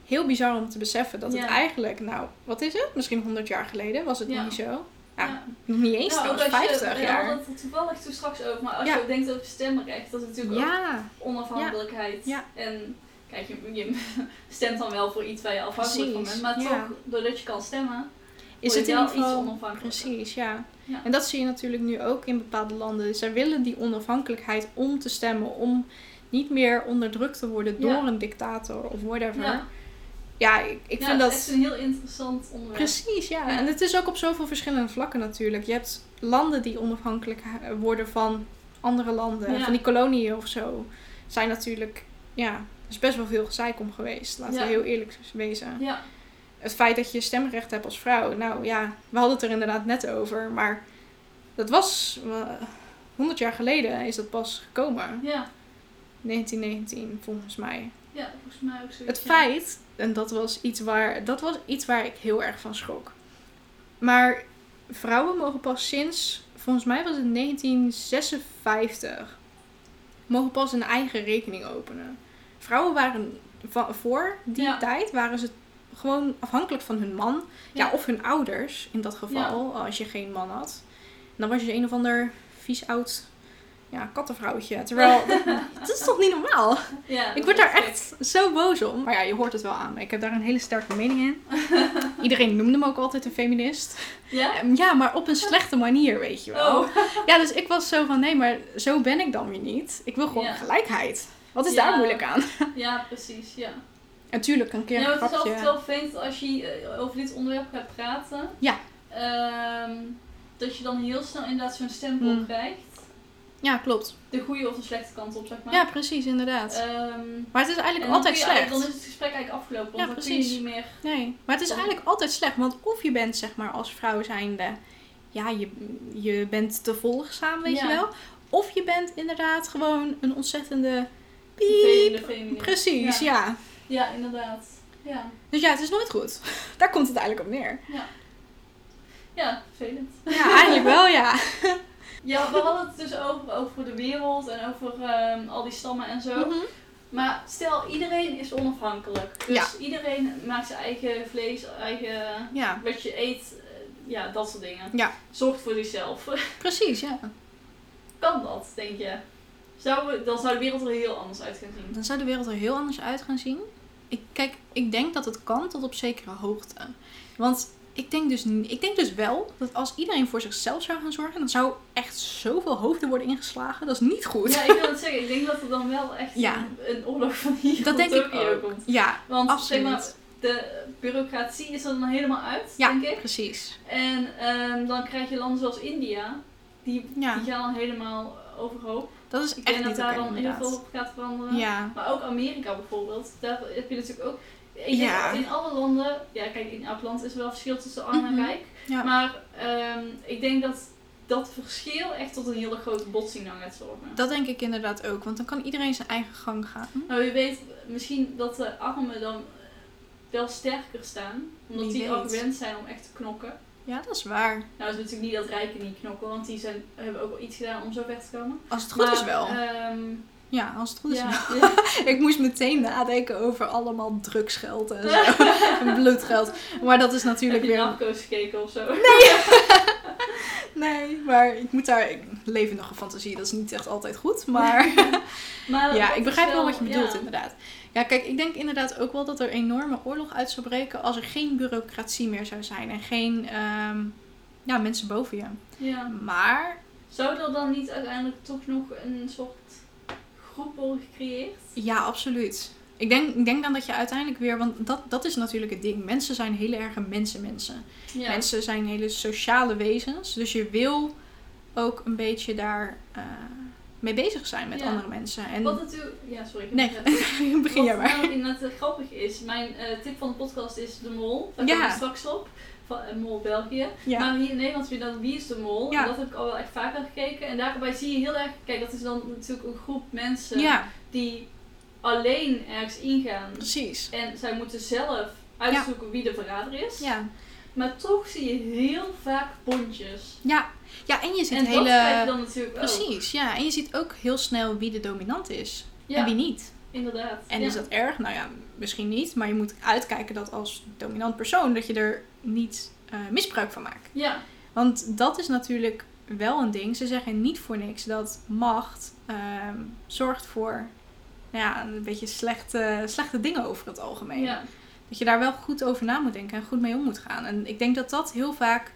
Speaker 1: Heel bizar om te beseffen dat
Speaker 2: Ja.
Speaker 1: het eigenlijk, nou, wat is het? Misschien 100 jaar geleden was het
Speaker 2: Ja.
Speaker 1: niet zo.
Speaker 2: Ja.
Speaker 1: Ja. Nog niet eens
Speaker 2: Nou, ook
Speaker 1: trouwens,
Speaker 2: als je-
Speaker 1: 50
Speaker 2: We
Speaker 1: jaar.
Speaker 2: hadden het er toevallig toen straks over, maar als
Speaker 1: Ja.
Speaker 2: je ook denkt over stemrecht, dat is natuurlijk ook
Speaker 1: Ja,
Speaker 2: onafhankelijkheid.
Speaker 1: Ja.
Speaker 2: En kijk, je, je stemt dan wel voor iets waar je afhankelijk
Speaker 1: Precies,
Speaker 2: van bent, maar
Speaker 1: ja.
Speaker 2: toch, doordat je kan stemmen,
Speaker 1: is
Speaker 2: word
Speaker 1: het
Speaker 2: je
Speaker 1: in
Speaker 2: wel
Speaker 1: ieder geval...
Speaker 2: iets onafhankelijker.
Speaker 1: Precies, ja.
Speaker 2: Ja.
Speaker 1: En dat zie je natuurlijk nu ook in bepaalde landen. Zij willen die onafhankelijkheid om te stemmen, om niet meer onderdrukt te worden door
Speaker 2: Ja.
Speaker 1: een dictator of whatever.
Speaker 2: Ja.
Speaker 1: Ja, ik, ik
Speaker 2: ja,
Speaker 1: vind
Speaker 2: het
Speaker 1: dat.
Speaker 2: is echt een heel interessant onderwerp.
Speaker 1: Precies, ja.
Speaker 2: Ja.
Speaker 1: En het is ook op zoveel verschillende vlakken natuurlijk. Je hebt landen die onafhankelijk ha- worden van andere landen,
Speaker 2: Ja.
Speaker 1: van die koloniën of zo. Zijn natuurlijk, ja, er is best wel veel gezeik om geweest. Laten
Speaker 2: Ja.
Speaker 1: we heel eerlijk wezen.
Speaker 2: Ja,
Speaker 1: het feit dat je stemrecht hebt als vrouw. Nou ja, we hadden het er inderdaad net over. Maar dat was eh, 100 jaar geleden is dat pas gekomen.
Speaker 2: ja,
Speaker 1: 1919 volgens mij.
Speaker 2: ja, volgens mij ook
Speaker 1: Het
Speaker 2: zoiets. ja.
Speaker 1: feit, en dat was iets waar, dat was iets waar ik heel erg van schrok. Maar vrouwen mogen pas sinds, volgens mij was het 1956, mogen pas een eigen rekening openen. Vrouwen waren va- voor die
Speaker 2: Ja.
Speaker 1: tijd waren ze gewoon afhankelijk van hun man. Ja,
Speaker 2: Ja.
Speaker 1: of hun ouders in dat geval, als je geen man had. En dan was je een of ander vies oud ja, kattenvrouwtje. Terwijl, dat, dat is toch niet normaal?
Speaker 2: Ja,
Speaker 1: Ik
Speaker 2: dat
Speaker 1: word
Speaker 2: is
Speaker 1: daar
Speaker 2: gek.
Speaker 1: echt zo boos om. Maar ja, je hoort het wel aan. Ik heb daar een hele sterke mening in. Iedereen noemde me ook altijd een feminist.
Speaker 2: Ja?
Speaker 1: Ehm, Ja, maar op een slechte manier, weet je wel.
Speaker 2: Oh,
Speaker 1: Ja, dus ik was zo van, nee, maar zo ben ik dan weer niet. Ik wil gewoon
Speaker 2: Ja.
Speaker 1: gelijkheid. Wat is
Speaker 2: Ja.
Speaker 1: daar moeilijk aan?
Speaker 2: ja, precies, ja.
Speaker 1: Natuurlijk, een keer
Speaker 2: Ja, maar
Speaker 1: een
Speaker 2: het is altijd
Speaker 1: grapje.
Speaker 2: wel vreemd als je eh, over dit onderwerp gaat praten.
Speaker 1: Ja.
Speaker 2: Ehm, dat je dan heel snel inderdaad zo'n stempel
Speaker 1: Hmm.
Speaker 2: krijgt.
Speaker 1: Ja, klopt.
Speaker 2: De goede of de slechte kant op, zeg maar.
Speaker 1: Ja, precies, inderdaad.
Speaker 2: Ehm,
Speaker 1: Maar het is
Speaker 2: en
Speaker 1: eigenlijk
Speaker 2: dan
Speaker 1: altijd
Speaker 2: kun je
Speaker 1: slecht.
Speaker 2: eigenlijk- Dan is het gesprek eigenlijk afgelopen, want
Speaker 1: Ja,
Speaker 2: dan
Speaker 1: precies.
Speaker 2: kun je niet meer...
Speaker 1: Nee, maar het is
Speaker 2: Dan-
Speaker 1: eigenlijk altijd slecht. Want of je bent, zeg maar, als vrouw zijnde... Ja, je, je bent te volgzaam, weet
Speaker 2: Ja.
Speaker 1: je wel. Of je bent inderdaad gewoon een ontzettende...
Speaker 2: vervelende
Speaker 1: Piep.
Speaker 2: feminist.
Speaker 1: Precies,
Speaker 2: Ja.
Speaker 1: ja.
Speaker 2: Ja, inderdaad. Ja,
Speaker 1: Dus ja, het is nooit goed. Daar komt het eigenlijk op neer.
Speaker 2: ja vervelend.
Speaker 1: Ja, eigenlijk wel, ja.
Speaker 2: Ja, we hadden het dus over, over de wereld en over ehm, al die stammen en zo.
Speaker 1: Mhm.
Speaker 2: Maar stel, iedereen is onafhankelijk. Dus
Speaker 1: Ja.
Speaker 2: iedereen maakt zijn eigen vlees, eigen
Speaker 1: Ja,
Speaker 2: wat je eet, eh, ja, dat soort dingen.
Speaker 1: Ja.
Speaker 2: Zorgt voor zichzelf.
Speaker 1: precies, ja.
Speaker 2: kan dat, denk je? Zou we, dan zou de wereld er heel anders uit gaan zien.
Speaker 1: Dan zou de wereld er heel anders uit gaan zien. Ik, kijk, ik denk dat het kan tot op zekere hoogte. Want ik denk, dus, n- ik denk dus wel dat als iedereen voor zichzelf zou gaan zorgen, dan zou echt zoveel hoofden worden ingeslagen. Dat is niet goed.
Speaker 2: Ja, ik wil het zeggen. Ik denk dat er dan wel echt
Speaker 1: Ja.
Speaker 2: een, een oorlog van hier
Speaker 1: Dat
Speaker 2: tot
Speaker 1: denk ik
Speaker 2: Tokio
Speaker 1: ook.
Speaker 2: komt.
Speaker 1: Ja,
Speaker 2: Want
Speaker 1: Absoluut.
Speaker 2: zeg maar, de bureaucratie is er dan helemaal uit,
Speaker 1: Ja.
Speaker 2: denk ik.
Speaker 1: precies.
Speaker 2: En ehm, dan krijg je landen zoals India, die,
Speaker 1: Ja.
Speaker 2: die gaan dan helemaal overhoop.
Speaker 1: Dat is
Speaker 2: Ik
Speaker 1: echt
Speaker 2: denk
Speaker 1: niet
Speaker 2: dat
Speaker 1: oké,
Speaker 2: daar dan heel
Speaker 1: inderdaad.
Speaker 2: veel op eh, gaat veranderen.
Speaker 1: Ja,
Speaker 2: Maar ook Amerika bijvoorbeeld, daar heb je natuurlijk ook. Ik denk
Speaker 1: Ja.
Speaker 2: dat in alle landen, ja kijk, in elk land is er wel verschil tussen arm en
Speaker 1: Mhm.
Speaker 2: rijk.
Speaker 1: ja.
Speaker 2: Maar ehm, ik denk dat dat verschil echt tot een hele grote botsing dan gaat zorgen.
Speaker 1: dat denk ik inderdaad ook. Want dan kan iedereen zijn eigen gang gaan.
Speaker 2: Nou, wie weet, misschien dat de armen dan wel sterker staan, omdat
Speaker 1: Wie
Speaker 2: die al
Speaker 1: weet.
Speaker 2: gewend zijn om echt te knokken.
Speaker 1: Ja, dat is waar.
Speaker 2: Nou, het is natuurlijk niet dat rijken niet knokken, want die zijn, hebben ook wel iets gedaan om zo weg te komen.
Speaker 1: Als het goed
Speaker 2: Maar,
Speaker 1: is wel.
Speaker 2: ehm,
Speaker 1: ja, als het goed is wel.
Speaker 2: ja,
Speaker 1: Ik moest meteen nadenken over allemaal drugsgeld en zo. en bloedgeld. Maar dat is
Speaker 2: heb
Speaker 1: natuurlijk
Speaker 2: je
Speaker 1: weer...
Speaker 2: Narcos gekeken of zo?
Speaker 1: Nee, maar ik moet daar... Levendige fantasie, dat is niet echt altijd goed. Maar
Speaker 2: Maar
Speaker 1: ja,
Speaker 2: dat
Speaker 1: ik
Speaker 2: is
Speaker 1: begrijp wel
Speaker 2: wel-
Speaker 1: wat je bedoelt
Speaker 2: ja.
Speaker 1: inderdaad. Ja, kijk, ik denk inderdaad ook wel dat er enorme oorlog uit zou breken... als er geen bureaucratie meer zou zijn. En geen ehm, ja, mensen boven je.
Speaker 2: Ja.
Speaker 1: Maar
Speaker 2: Zou er dan niet uiteindelijk toch nog een soort groep worden gecreëerd?
Speaker 1: Ja, absoluut. Ik denk, ik denk dan dat je uiteindelijk weer, want dat, dat is natuurlijk het ding. Mensen zijn heel erg een mensenmensen.
Speaker 2: Ja.
Speaker 1: Mensen zijn hele sociale wezens. Dus je wil ook een beetje daar eh, mee bezig zijn met
Speaker 2: Ja.
Speaker 1: andere mensen. En
Speaker 2: Wat natuurlijk... Ja, sorry. ik heb
Speaker 1: Nee, begin
Speaker 2: het Wat
Speaker 1: jij maar.
Speaker 2: namelijk inderdaad eh, grappig is, mijn eh, tip van de podcast is De Mol. Daar
Speaker 1: Ja.
Speaker 2: komen we straks op. Van eh, Mol België.
Speaker 1: Ja.
Speaker 2: Maar hier in Nederland vind je dan Wie is de Mol.
Speaker 1: Ja.
Speaker 2: En dat heb ik al wel echt vaker gekeken. En daarbij zie je heel erg... Kijk, dat is dan natuurlijk een groep mensen
Speaker 1: ja,
Speaker 2: die alleen ergens ingaan.
Speaker 1: precies.
Speaker 2: En zij moeten zelf uitzoeken wie de verrader is.
Speaker 1: Ja.
Speaker 2: Maar toch zie je heel vaak bondjes.
Speaker 1: Ja. ja, en je ziet
Speaker 2: en
Speaker 1: hele...
Speaker 2: dat krijg je dan natuurlijk ook.
Speaker 1: Precies, ja. En je ziet ook heel snel wie de dominant is
Speaker 2: Ja,
Speaker 1: en wie niet.
Speaker 2: inderdaad.
Speaker 1: En
Speaker 2: ja.
Speaker 1: is dat erg? Nou ja, misschien niet. Maar je moet uitkijken dat als dominant persoon dat je er niet eh, misbruik van maakt.
Speaker 2: Ja,
Speaker 1: Want dat is natuurlijk wel een ding. Ze zeggen niet voor niks dat macht ehm, zorgt voor nou ja, een beetje slechte, slechte dingen over het algemeen.
Speaker 2: ja.
Speaker 1: Dat je daar wel goed over na moet denken en goed mee om moet gaan. En ik denk dat dat heel vaak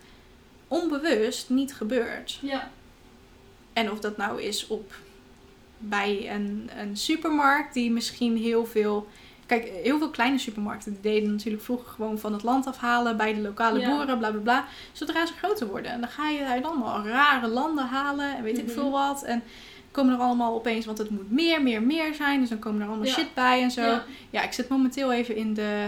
Speaker 1: onbewust niet gebeurt.
Speaker 2: ja.
Speaker 1: En of dat nou is op bij een, een supermarkt die misschien heel veel. Kijk, heel veel kleine supermarkten die deden natuurlijk vroeger gewoon van het land afhalen bij de lokale
Speaker 2: Ja.
Speaker 1: boeren, bla bla bla. Zodra ze groter worden. En dan ga je uit allemaal rare landen halen en weet
Speaker 2: Mhm.
Speaker 1: ik veel wat. En komen er allemaal opeens, want het moet meer, meer, meer zijn. Dus dan komen er allemaal
Speaker 2: Ja.
Speaker 1: shit bij en zo. Ja.
Speaker 2: Ja.
Speaker 1: ik zit momenteel even in de,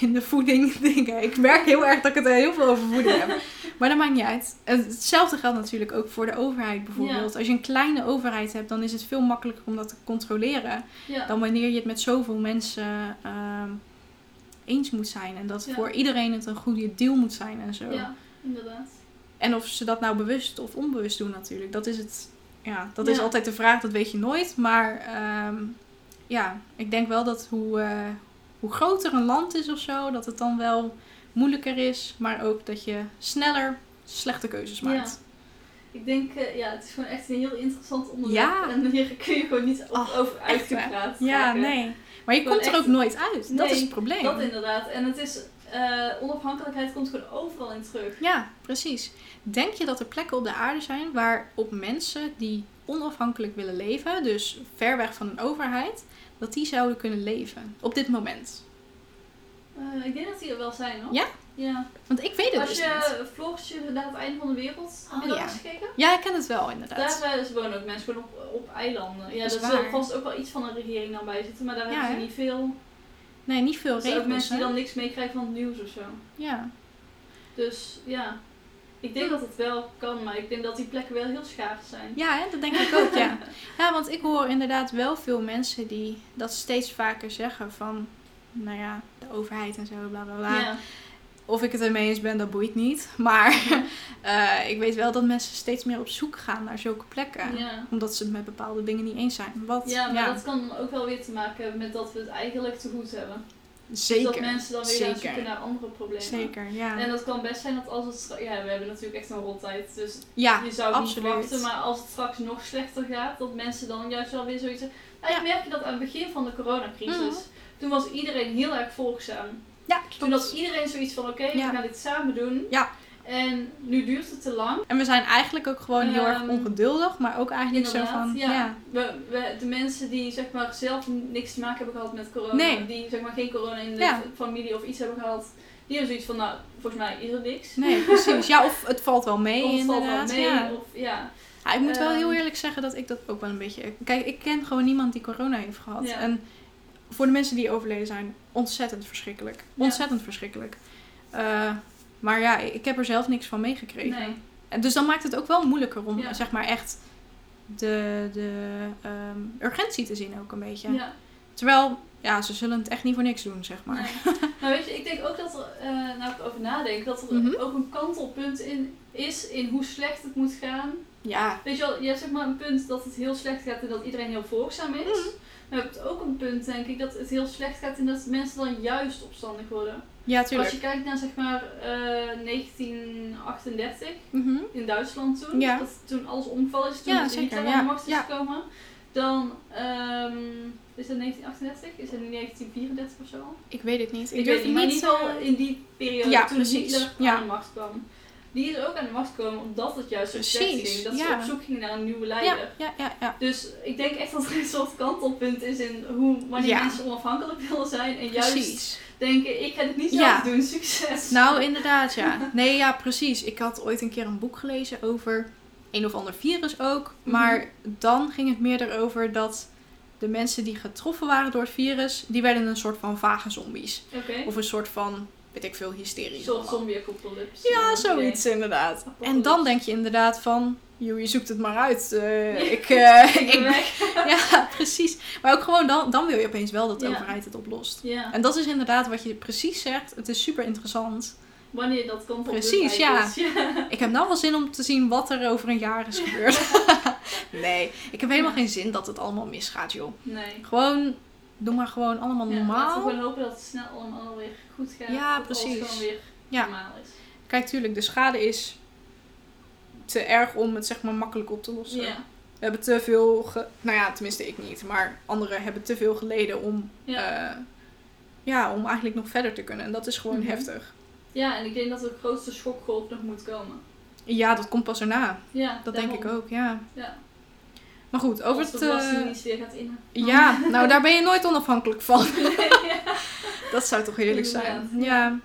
Speaker 1: in de voeding dingen. Ik merk heel erg dat ik het er heel veel over voeding heb. Maar dat maakt niet uit. En Hetzelfde geldt natuurlijk ook voor de overheid bijvoorbeeld. Als je een kleine overheid hebt, dan is het veel makkelijker om dat te controleren.
Speaker 2: ja.
Speaker 1: Dan wanneer je het met zoveel mensen ehm, eens moet zijn. En dat
Speaker 2: Ja.
Speaker 1: voor iedereen het een goede deal moet zijn en zo.
Speaker 2: Ja, inderdaad.
Speaker 1: En of ze dat nou bewust of onbewust doen natuurlijk. Dat is het. Ja, dat is
Speaker 2: Ja.
Speaker 1: altijd de vraag, dat weet je nooit. Maar ehm, ja, ik denk wel dat hoe, eh, hoe groter een land is of zo, dat het dan wel moeilijker is. Maar ook dat je sneller slechte keuzes
Speaker 2: Ja.
Speaker 1: maakt.
Speaker 2: Ik denk, eh, ja, het is gewoon echt een heel interessant onderwerp.
Speaker 1: Ja,
Speaker 2: En hier kun je gewoon niet op-
Speaker 1: Ach,
Speaker 2: over
Speaker 1: echt waar.
Speaker 2: uitgepraat
Speaker 1: Ja,
Speaker 2: raken.
Speaker 1: nee. Maar je
Speaker 2: Gewoon
Speaker 1: komt er
Speaker 2: echt-
Speaker 1: ook nooit uit. dat
Speaker 2: Nee,
Speaker 1: is het probleem.
Speaker 2: Dat inderdaad. En het is, eh, onafhankelijkheid komt gewoon overal in terug.
Speaker 1: Ja, precies. Denk je dat er plekken op de aarde zijn waarop mensen die onafhankelijk willen leven, dus ver weg van een overheid, dat die zouden kunnen leven op dit moment?
Speaker 2: Eh, ik denk dat die er wel zijn, hoor.
Speaker 1: Ja?
Speaker 2: Ja.
Speaker 1: Want ik weet het
Speaker 2: Als
Speaker 1: dus niet.
Speaker 2: je vlogje naar het einde van de wereld, heb je
Speaker 1: Oh,
Speaker 2: dat
Speaker 1: ja.
Speaker 2: eens gekeken?
Speaker 1: Ja, ik ken het wel inderdaad.
Speaker 2: Daar eh, wonen ook mensen gewoon op, op eilanden. Ja,
Speaker 1: Dat is
Speaker 2: daar zal
Speaker 1: waar.
Speaker 2: vast ook wel iets van een regering dan bij zitten, maar daar
Speaker 1: Ja,
Speaker 2: hebben ze
Speaker 1: hè?
Speaker 2: niet veel.
Speaker 1: Nee, niet veel
Speaker 2: Er zijn Dus
Speaker 1: regels.
Speaker 2: ook mensen die
Speaker 1: hè?
Speaker 2: dan niks meekrijgen van het nieuws of zo.
Speaker 1: Ja.
Speaker 2: Dus ja, ik denk dat het wel kan, maar ik denk dat die plekken wel heel schaars zijn.
Speaker 1: ja, hè? dat denk ik ook, ja. Ja, want ik hoor inderdaad wel veel mensen die dat steeds vaker zeggen van, nou ja, de overheid en zo, bla bla bla.
Speaker 2: Ja.
Speaker 1: Of ik het ermee eens ben, dat boeit niet. Maar eh, ik weet wel dat mensen steeds meer op zoek gaan naar zulke plekken.
Speaker 2: Ja.
Speaker 1: Omdat ze het met bepaalde dingen niet eens zijn. Wat?
Speaker 2: Ja, maar dat kan ook wel weer te maken hebben met dat we het eigenlijk te goed hebben.
Speaker 1: Zeker.
Speaker 2: dat mensen dan weer gaan
Speaker 1: zeker.
Speaker 2: zoeken naar andere problemen.
Speaker 1: Zeker, ja.
Speaker 2: En dat kan best zijn dat als het straks... Ja, we hebben natuurlijk echt een rottijd, dus
Speaker 1: ja,
Speaker 2: je zou het niet
Speaker 1: absoluut.
Speaker 2: verwachten. Maar als het straks nog slechter gaat, dat mensen dan juist wel weer zoiets zeggen. Nou, ik merkte dat aan het begin van de coronacrisis.
Speaker 1: Mhm.
Speaker 2: Toen was iedereen heel erg volgzaam.
Speaker 1: ja,
Speaker 2: Toen
Speaker 1: klopt.
Speaker 2: had iedereen zoiets van, oké,
Speaker 1: Ja.
Speaker 2: we gaan dit samen doen.
Speaker 1: Ja.
Speaker 2: En nu duurt het te lang.
Speaker 1: En we zijn eigenlijk ook gewoon heel erg
Speaker 2: Ehm,
Speaker 1: ongeduldig, maar ook eigenlijk zo
Speaker 2: Inderdaad,
Speaker 1: van...
Speaker 2: ja.
Speaker 1: Ja.
Speaker 2: We, we, de mensen die zeg maar, zelf niks te maken hebben gehad met corona,
Speaker 1: Nee.
Speaker 2: die zeg maar, geen corona in de
Speaker 1: Ja.
Speaker 2: familie of iets hebben gehad, die hebben zoiets van, nou, volgens mij is er niks.
Speaker 1: Nee, precies. Ja, of het valt wel mee
Speaker 2: of het valt wel
Speaker 1: inderdaad.
Speaker 2: mee.
Speaker 1: Ja.
Speaker 2: Of, ja.
Speaker 1: Ja, ik moet wel heel
Speaker 2: Ehm.
Speaker 1: eerlijk zeggen dat ik dat ook wel een beetje... Kijk, ik ken gewoon niemand die corona heeft gehad.
Speaker 2: Ja.
Speaker 1: En voor de mensen die overleden zijn, ontzettend verschrikkelijk.
Speaker 2: Ja.
Speaker 1: Ontzettend verschrikkelijk. Eh, maar ja, ik heb er zelf niks van meegekregen.
Speaker 2: Nee.
Speaker 1: En Dus dan maakt het ook wel moeilijker om
Speaker 2: Ja.
Speaker 1: zeg maar echt de, de ehm, urgentie te zien ook een beetje.
Speaker 2: Ja.
Speaker 1: Terwijl, ja, ze zullen het echt niet voor niks doen, zeg maar.
Speaker 2: Nee. nou weet je, ik denk ook dat er, eh nou ik erover nadenk, dat er
Speaker 1: Mhm.
Speaker 2: ook een kantelpunt in is in hoe slecht het moet gaan.
Speaker 1: Ja,
Speaker 2: Weet je wel, je hebt zeg maar een punt dat het heel slecht gaat en dat iedereen heel volgzaam is.
Speaker 1: Mhm.
Speaker 2: Maar je hebt ook een punt, denk ik, dat het heel slecht gaat en dat mensen dan juist opstandig worden.
Speaker 1: ja, tuurlijk.
Speaker 2: Als je kijkt naar zeg maar eh, 1938
Speaker 1: Mhm.
Speaker 2: in Duitsland toen,
Speaker 1: Ja.
Speaker 2: dat toen alles omgevallen is, toen
Speaker 1: Ja,
Speaker 2: het
Speaker 1: zeker,
Speaker 2: Hitler
Speaker 1: ja.
Speaker 2: aan de macht is
Speaker 1: Ja.
Speaker 2: gekomen, dan ehm, is dat 1938? Is dat nu 1934 of zo?
Speaker 1: Ik weet het niet.
Speaker 2: Ik, weet niet, maar niet
Speaker 1: eh,
Speaker 2: al in die periode
Speaker 1: Ja,
Speaker 2: toen
Speaker 1: precies.
Speaker 2: Hitler
Speaker 1: Ja.
Speaker 2: aan de macht kwam. Die is ook aan de macht gekomen omdat het juist zo slecht
Speaker 1: Precies,
Speaker 2: ging. Dat ze
Speaker 1: ja.
Speaker 2: op zoek ging naar een nieuwe leider.
Speaker 1: Ja, ja, ja, ja.
Speaker 2: Dus ik denk echt dat er een soort kantelpunt is in hoe wanneer
Speaker 1: Ja.
Speaker 2: mensen onafhankelijk willen zijn. En juist
Speaker 1: Precies.
Speaker 2: denken, ik ga dit niet zelf
Speaker 1: Ja.
Speaker 2: doen, succes.
Speaker 1: Nou, inderdaad, ja. Nee, ja, precies. Ik had ooit een keer een boek gelezen over een of ander virus ook.
Speaker 2: Mhm.
Speaker 1: Maar dan ging het meer erover dat de mensen die getroffen waren door het virus, die werden een soort van vage zombies.
Speaker 2: Oké.
Speaker 1: Of een soort van, weet ik veel,
Speaker 2: Een
Speaker 1: hysterisch.
Speaker 2: soort zombie-apocalypse.
Speaker 1: Ja, zoiets inderdaad. En dan denk je inderdaad van, joh, je zoekt het maar uit. Eh, ik, eh,
Speaker 2: Ik ben
Speaker 1: ik,
Speaker 2: weg.
Speaker 1: ja, precies. Maar ook gewoon dan, dan wil je opeens wel dat de
Speaker 2: Ja.
Speaker 1: overheid het oplost.
Speaker 2: Ja,
Speaker 1: En dat is inderdaad wat je precies zegt. Het is super interessant.
Speaker 2: wanneer dat kantelpunt
Speaker 1: Precies,
Speaker 2: eigenlijk is. ja.
Speaker 1: Ik heb nou wel zin om te zien wat er over een jaar is gebeurd. nee, ik heb helemaal geen zin dat het allemaal misgaat, joh.
Speaker 2: Nee.
Speaker 1: Gewoon, doe maar gewoon allemaal
Speaker 2: Ja, laten we
Speaker 1: normaal.
Speaker 2: gewoon hopen dat het snel allemaal weer goed gaat.
Speaker 1: Ja,
Speaker 2: dat alles
Speaker 1: precies.
Speaker 2: gewoon weer
Speaker 1: Ja.
Speaker 2: normaal is.
Speaker 1: Kijk, tuurlijk, de schade is te erg om het zeg maar makkelijk op te lossen.
Speaker 2: Ja.
Speaker 1: We hebben te veel, ge- nou ja, tenminste ik niet, maar anderen hebben te veel geleden om,
Speaker 2: Ja.
Speaker 1: eh, ja, om eigenlijk nog verder te kunnen. En dat is gewoon
Speaker 2: Mhm.
Speaker 1: heftig.
Speaker 2: ja, en ik denk dat de grootste schokgolf nog moet komen.
Speaker 1: Ja, dat komt pas erna.
Speaker 2: Ja,
Speaker 1: Dat denk ik ook, ja.
Speaker 2: Ja.
Speaker 1: Maar goed, over
Speaker 2: Over Als
Speaker 1: het...
Speaker 2: de
Speaker 1: eh,
Speaker 2: belastingdienst weer gaat in.
Speaker 1: Ja, nou daar ben je nooit onafhankelijk van. Dat zou toch heerlijk zijn.
Speaker 2: Inderdaad.
Speaker 1: Ja.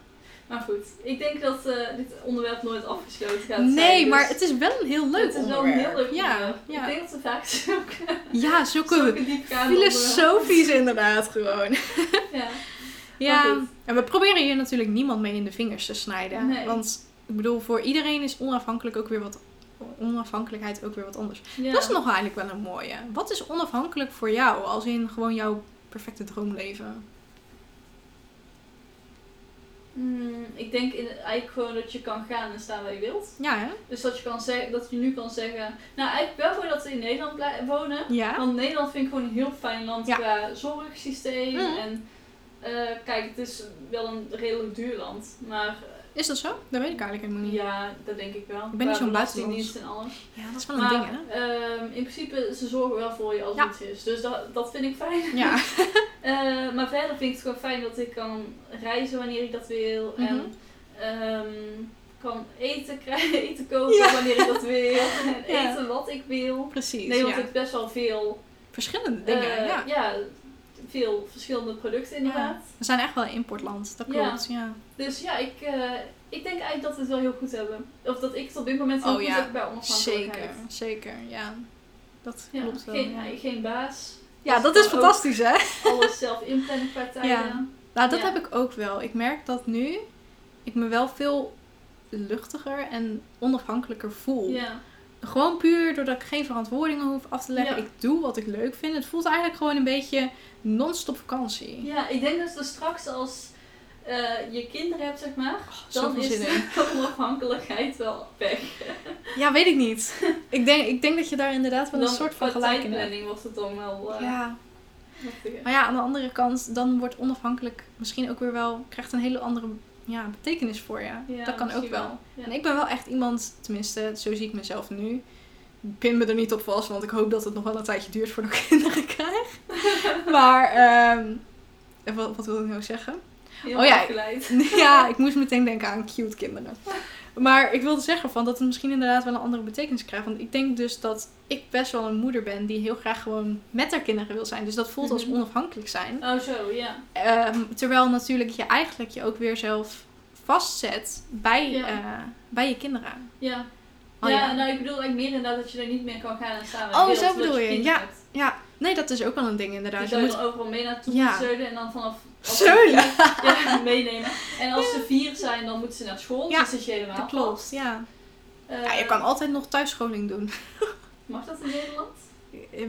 Speaker 2: Maar goed, ik denk dat eh, dit onderwerp nooit afgesloten gaat zijn.
Speaker 1: Nee,
Speaker 2: dus
Speaker 1: maar het is wel een heel leuk
Speaker 2: het is wel een
Speaker 1: onderwerp.
Speaker 2: heel leuk
Speaker 1: ja,
Speaker 2: onderwerp. Ik
Speaker 1: ja.
Speaker 2: denk dat we vaak zulke,
Speaker 1: ja, zulke
Speaker 2: zulke diepgaande
Speaker 1: filosofisch inderdaad gewoon.
Speaker 2: onderwerpen- Ja. Maar
Speaker 1: Ja.
Speaker 2: goed.
Speaker 1: En we proberen hier natuurlijk niemand mee in de vingers te snijden.
Speaker 2: Nee.
Speaker 1: Want ik bedoel, voor iedereen is onafhankelijk ook weer wat, onafhankelijkheid ook weer wat anders.
Speaker 2: ja.
Speaker 1: Dat is nog eigenlijk wel een mooie. Wat is onafhankelijk voor jou? Als in gewoon jouw perfecte droomleven.
Speaker 2: Mm, ik denk in, eigenlijk gewoon dat je kan gaan en staan waar je wilt.
Speaker 1: Ja, hè?
Speaker 2: Dus dat je, kan zeggen, dat je nu kan zeggen... Nou, eigenlijk wel voor dat we in Nederland blij- wonen.
Speaker 1: Ja.
Speaker 2: Want Nederland vind ik gewoon een heel fijn land
Speaker 1: Ja.
Speaker 2: qua zorgsysteem.
Speaker 1: Mhm.
Speaker 2: En eh, kijk, het is wel een redelijk duur land. Maar eh,
Speaker 1: Is dat zo? Dat weet ik eigenlijk helemaal niet.
Speaker 2: ja, dat denk ik wel.
Speaker 1: Mhm. Ik ben niet
Speaker 2: Qua
Speaker 1: zo'n
Speaker 2: belastingdienst en alles.
Speaker 1: Ja, dat is wel een
Speaker 2: Maar
Speaker 1: ding, hè?
Speaker 2: ehm, in principe, ze zorgen wel voor je als
Speaker 1: Ja.
Speaker 2: het iets is. Dus dat, dat vind ik fijn.
Speaker 1: Ja.
Speaker 2: Eh, maar verder vind ik het gewoon fijn dat ik kan reizen wanneer ik dat wil.
Speaker 1: Mhm.
Speaker 2: En ehm, kan eten krijgen, eten kopen
Speaker 1: Ja.
Speaker 2: wanneer ik dat wil. En
Speaker 1: Ja.
Speaker 2: eten wat ik wil.
Speaker 1: Precies.
Speaker 2: Nederland
Speaker 1: ja.
Speaker 2: heeft best wel veel,
Speaker 1: Verschillende dingen,
Speaker 2: eh,
Speaker 1: ja.
Speaker 2: veel verschillende producten inderdaad.
Speaker 1: We zijn echt wel een importland, dat
Speaker 2: Ja.
Speaker 1: klopt. Ja.
Speaker 2: Dus ja, ik, eh, ik denk eigenlijk dat we het wel heel goed hebben. Of dat ik het op dit moment heel
Speaker 1: Oh,
Speaker 2: goed
Speaker 1: ja.
Speaker 2: heb bij onafhankelijkheid.
Speaker 1: Zeker, zeker, ja. Dat
Speaker 2: Ja,
Speaker 1: klopt wel.
Speaker 2: geen,
Speaker 1: ja.
Speaker 2: geen baas.
Speaker 1: Ja, dat is
Speaker 2: kan ook
Speaker 1: fantastisch, hè?
Speaker 2: alles zelf inplannen qua tijden.
Speaker 1: Ja. Nou, dat
Speaker 2: Ja.
Speaker 1: heb ik ook wel. Ik merk dat nu ik me wel veel luchtiger en onafhankelijker voel.
Speaker 2: Ja.
Speaker 1: Gewoon puur doordat ik geen verantwoordingen hoef af te leggen.
Speaker 2: Ja.
Speaker 1: Ik doe wat ik leuk vind. Het voelt eigenlijk gewoon een beetje non-stop vakantie.
Speaker 2: ja, ik denk dus dat we straks als eh, je kinderen hebt, zeg maar, dan
Speaker 1: zoveel
Speaker 2: is
Speaker 1: Oh, zin
Speaker 2: de onafhankelijkheid wel weg.
Speaker 1: Ja, weet ik niet. Ik denk, ik denk dat je daar inderdaad wel
Speaker 2: Dan
Speaker 1: een soort van
Speaker 2: qua
Speaker 1: gelijk in hebt.
Speaker 2: tijdplanning wordt het dan wel... eh,
Speaker 1: Ja. Maar ja, aan de andere kant, dan wordt onafhankelijk misschien ook weer wel, krijgt een hele andere ja, betekenis voor je.
Speaker 2: Ja,
Speaker 1: dat kan ook
Speaker 2: misschien
Speaker 1: wel.
Speaker 2: Ja.
Speaker 1: En ik ben wel echt iemand, tenminste, zo zie ik mezelf nu. Ik Pin me er niet op vast, want ik hoop dat het nog wel een tijdje duurt voordat ik kinderen krijg. Maar, ehm, en wat, wat wil ik nou zeggen?
Speaker 2: Heel
Speaker 1: Oh ja.
Speaker 2: afgeleid.
Speaker 1: Ja, ik moest meteen denken aan cute kinderen. Maar ik wilde zeggen van dat het misschien inderdaad wel een andere betekenis krijgt. Want ik denk dus dat ik best wel een moeder ben die heel graag gewoon met haar kinderen wil zijn. Dus dat voelt als
Speaker 2: Mhm.
Speaker 1: onafhankelijk zijn.
Speaker 2: Oh zo, ja.
Speaker 1: Ehm, terwijl natuurlijk je eigenlijk je ook weer zelf vastzet bij,
Speaker 2: Ja.
Speaker 1: eh, bij je kinderen.
Speaker 2: Ja.
Speaker 1: Oh,
Speaker 2: ja,
Speaker 1: ja.
Speaker 2: nou ik bedoel eigenlijk meer inderdaad dat je er niet meer kan gaan en staan met
Speaker 1: Oh,
Speaker 2: wereld,
Speaker 1: zo
Speaker 2: zodat
Speaker 1: bedoel je.
Speaker 2: kind
Speaker 1: Ja,
Speaker 2: hebt.
Speaker 1: Ja, nee, dat is ook wel een ding inderdaad.
Speaker 2: Dus
Speaker 1: Je
Speaker 2: dat je
Speaker 1: moet
Speaker 2: er overal mee naartoe
Speaker 1: Ja.
Speaker 2: moet zeulen en dan vanaf... als ze
Speaker 1: zeulen.
Speaker 2: vier- Ja, meenemen. En als ze vier zijn, dan moeten ze naar
Speaker 1: Ja,
Speaker 2: school. dus dan zit je helemaal
Speaker 1: Dat
Speaker 2: vast.
Speaker 1: klopt, ja.
Speaker 2: Eh,
Speaker 1: ja. Je kan altijd nog thuisscholing doen.
Speaker 2: Mag dat in Nederland?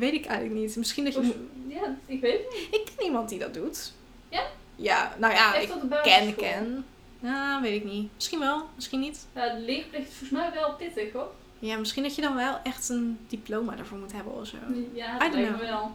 Speaker 1: Weet ik eigenlijk niet. Misschien dat je...
Speaker 2: Of-
Speaker 1: moet-
Speaker 2: Ja, ik weet het niet.
Speaker 1: Ik ken iemand die dat doet.
Speaker 2: Ja?
Speaker 1: Ja, nou ja,
Speaker 2: Echt
Speaker 1: ik
Speaker 2: op de basisschool.
Speaker 1: ken, ken. Nou, weet ik niet. Misschien wel, misschien niet.
Speaker 2: Ja, de leerplicht is volgens mij wel pittig hoor.
Speaker 1: Ja, misschien dat je dan wel echt een diploma ervoor moet hebben of zo.
Speaker 2: Ja,
Speaker 1: Oh. I
Speaker 2: dat
Speaker 1: don't
Speaker 2: lijkt me
Speaker 1: know.
Speaker 2: wel.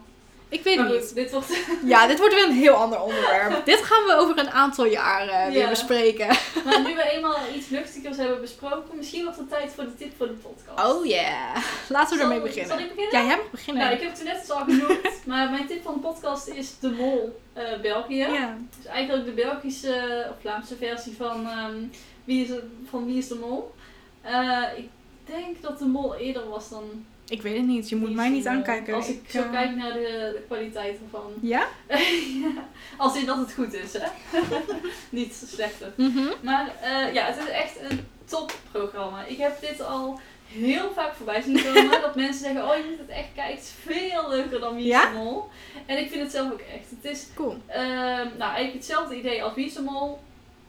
Speaker 1: Ik weet
Speaker 2: Maar
Speaker 1: het
Speaker 2: goed,
Speaker 1: niet.
Speaker 2: dit wordt...
Speaker 1: Ja, dit wordt weer een heel ander onderwerp. dit gaan we over een aantal jaren weer
Speaker 2: Ja.
Speaker 1: bespreken.
Speaker 2: maar nu we eenmaal iets luchtigers hebben besproken, misschien wordt het tijd voor de tip voor de podcast.
Speaker 1: Oh yeah. Laten we
Speaker 2: Zal-
Speaker 1: ermee beginnen.
Speaker 2: Zal ik beginnen?
Speaker 1: Ja, jij mag beginnen.
Speaker 2: Nou, ik heb het net dus al genoemd, maar mijn tip van de podcast is De Mol eh, België.
Speaker 1: ja.
Speaker 2: Dus eigenlijk de Belgische of Vlaamse versie van, ehm, wie, is, van Wie is de Mol. Eh, ik denk dat De Mol eerder was dan.
Speaker 1: Ik weet het niet. Je
Speaker 2: Wie
Speaker 1: moet
Speaker 2: is
Speaker 1: mij
Speaker 2: de
Speaker 1: niet
Speaker 2: Mol.
Speaker 1: aankijken.
Speaker 2: Als ik, zo
Speaker 1: eh,
Speaker 2: kijk naar de, de kwaliteit ervan.
Speaker 1: Ja?
Speaker 2: Ja, Als in dat het goed is, hè? Niet slechter.
Speaker 1: Mhm.
Speaker 2: Maar eh, ja, het is echt een topprogramma. Ik heb dit al heel vaak voorbij zien komen. dat mensen zeggen, oh je moet het echt kijken. Het is veel leuker dan Wie is
Speaker 1: Ja?
Speaker 2: de Mol. En ik vind het zelf ook echt. Het is
Speaker 1: Cool.
Speaker 2: ehm, nou, eigenlijk hetzelfde idee als Wie is de Mol.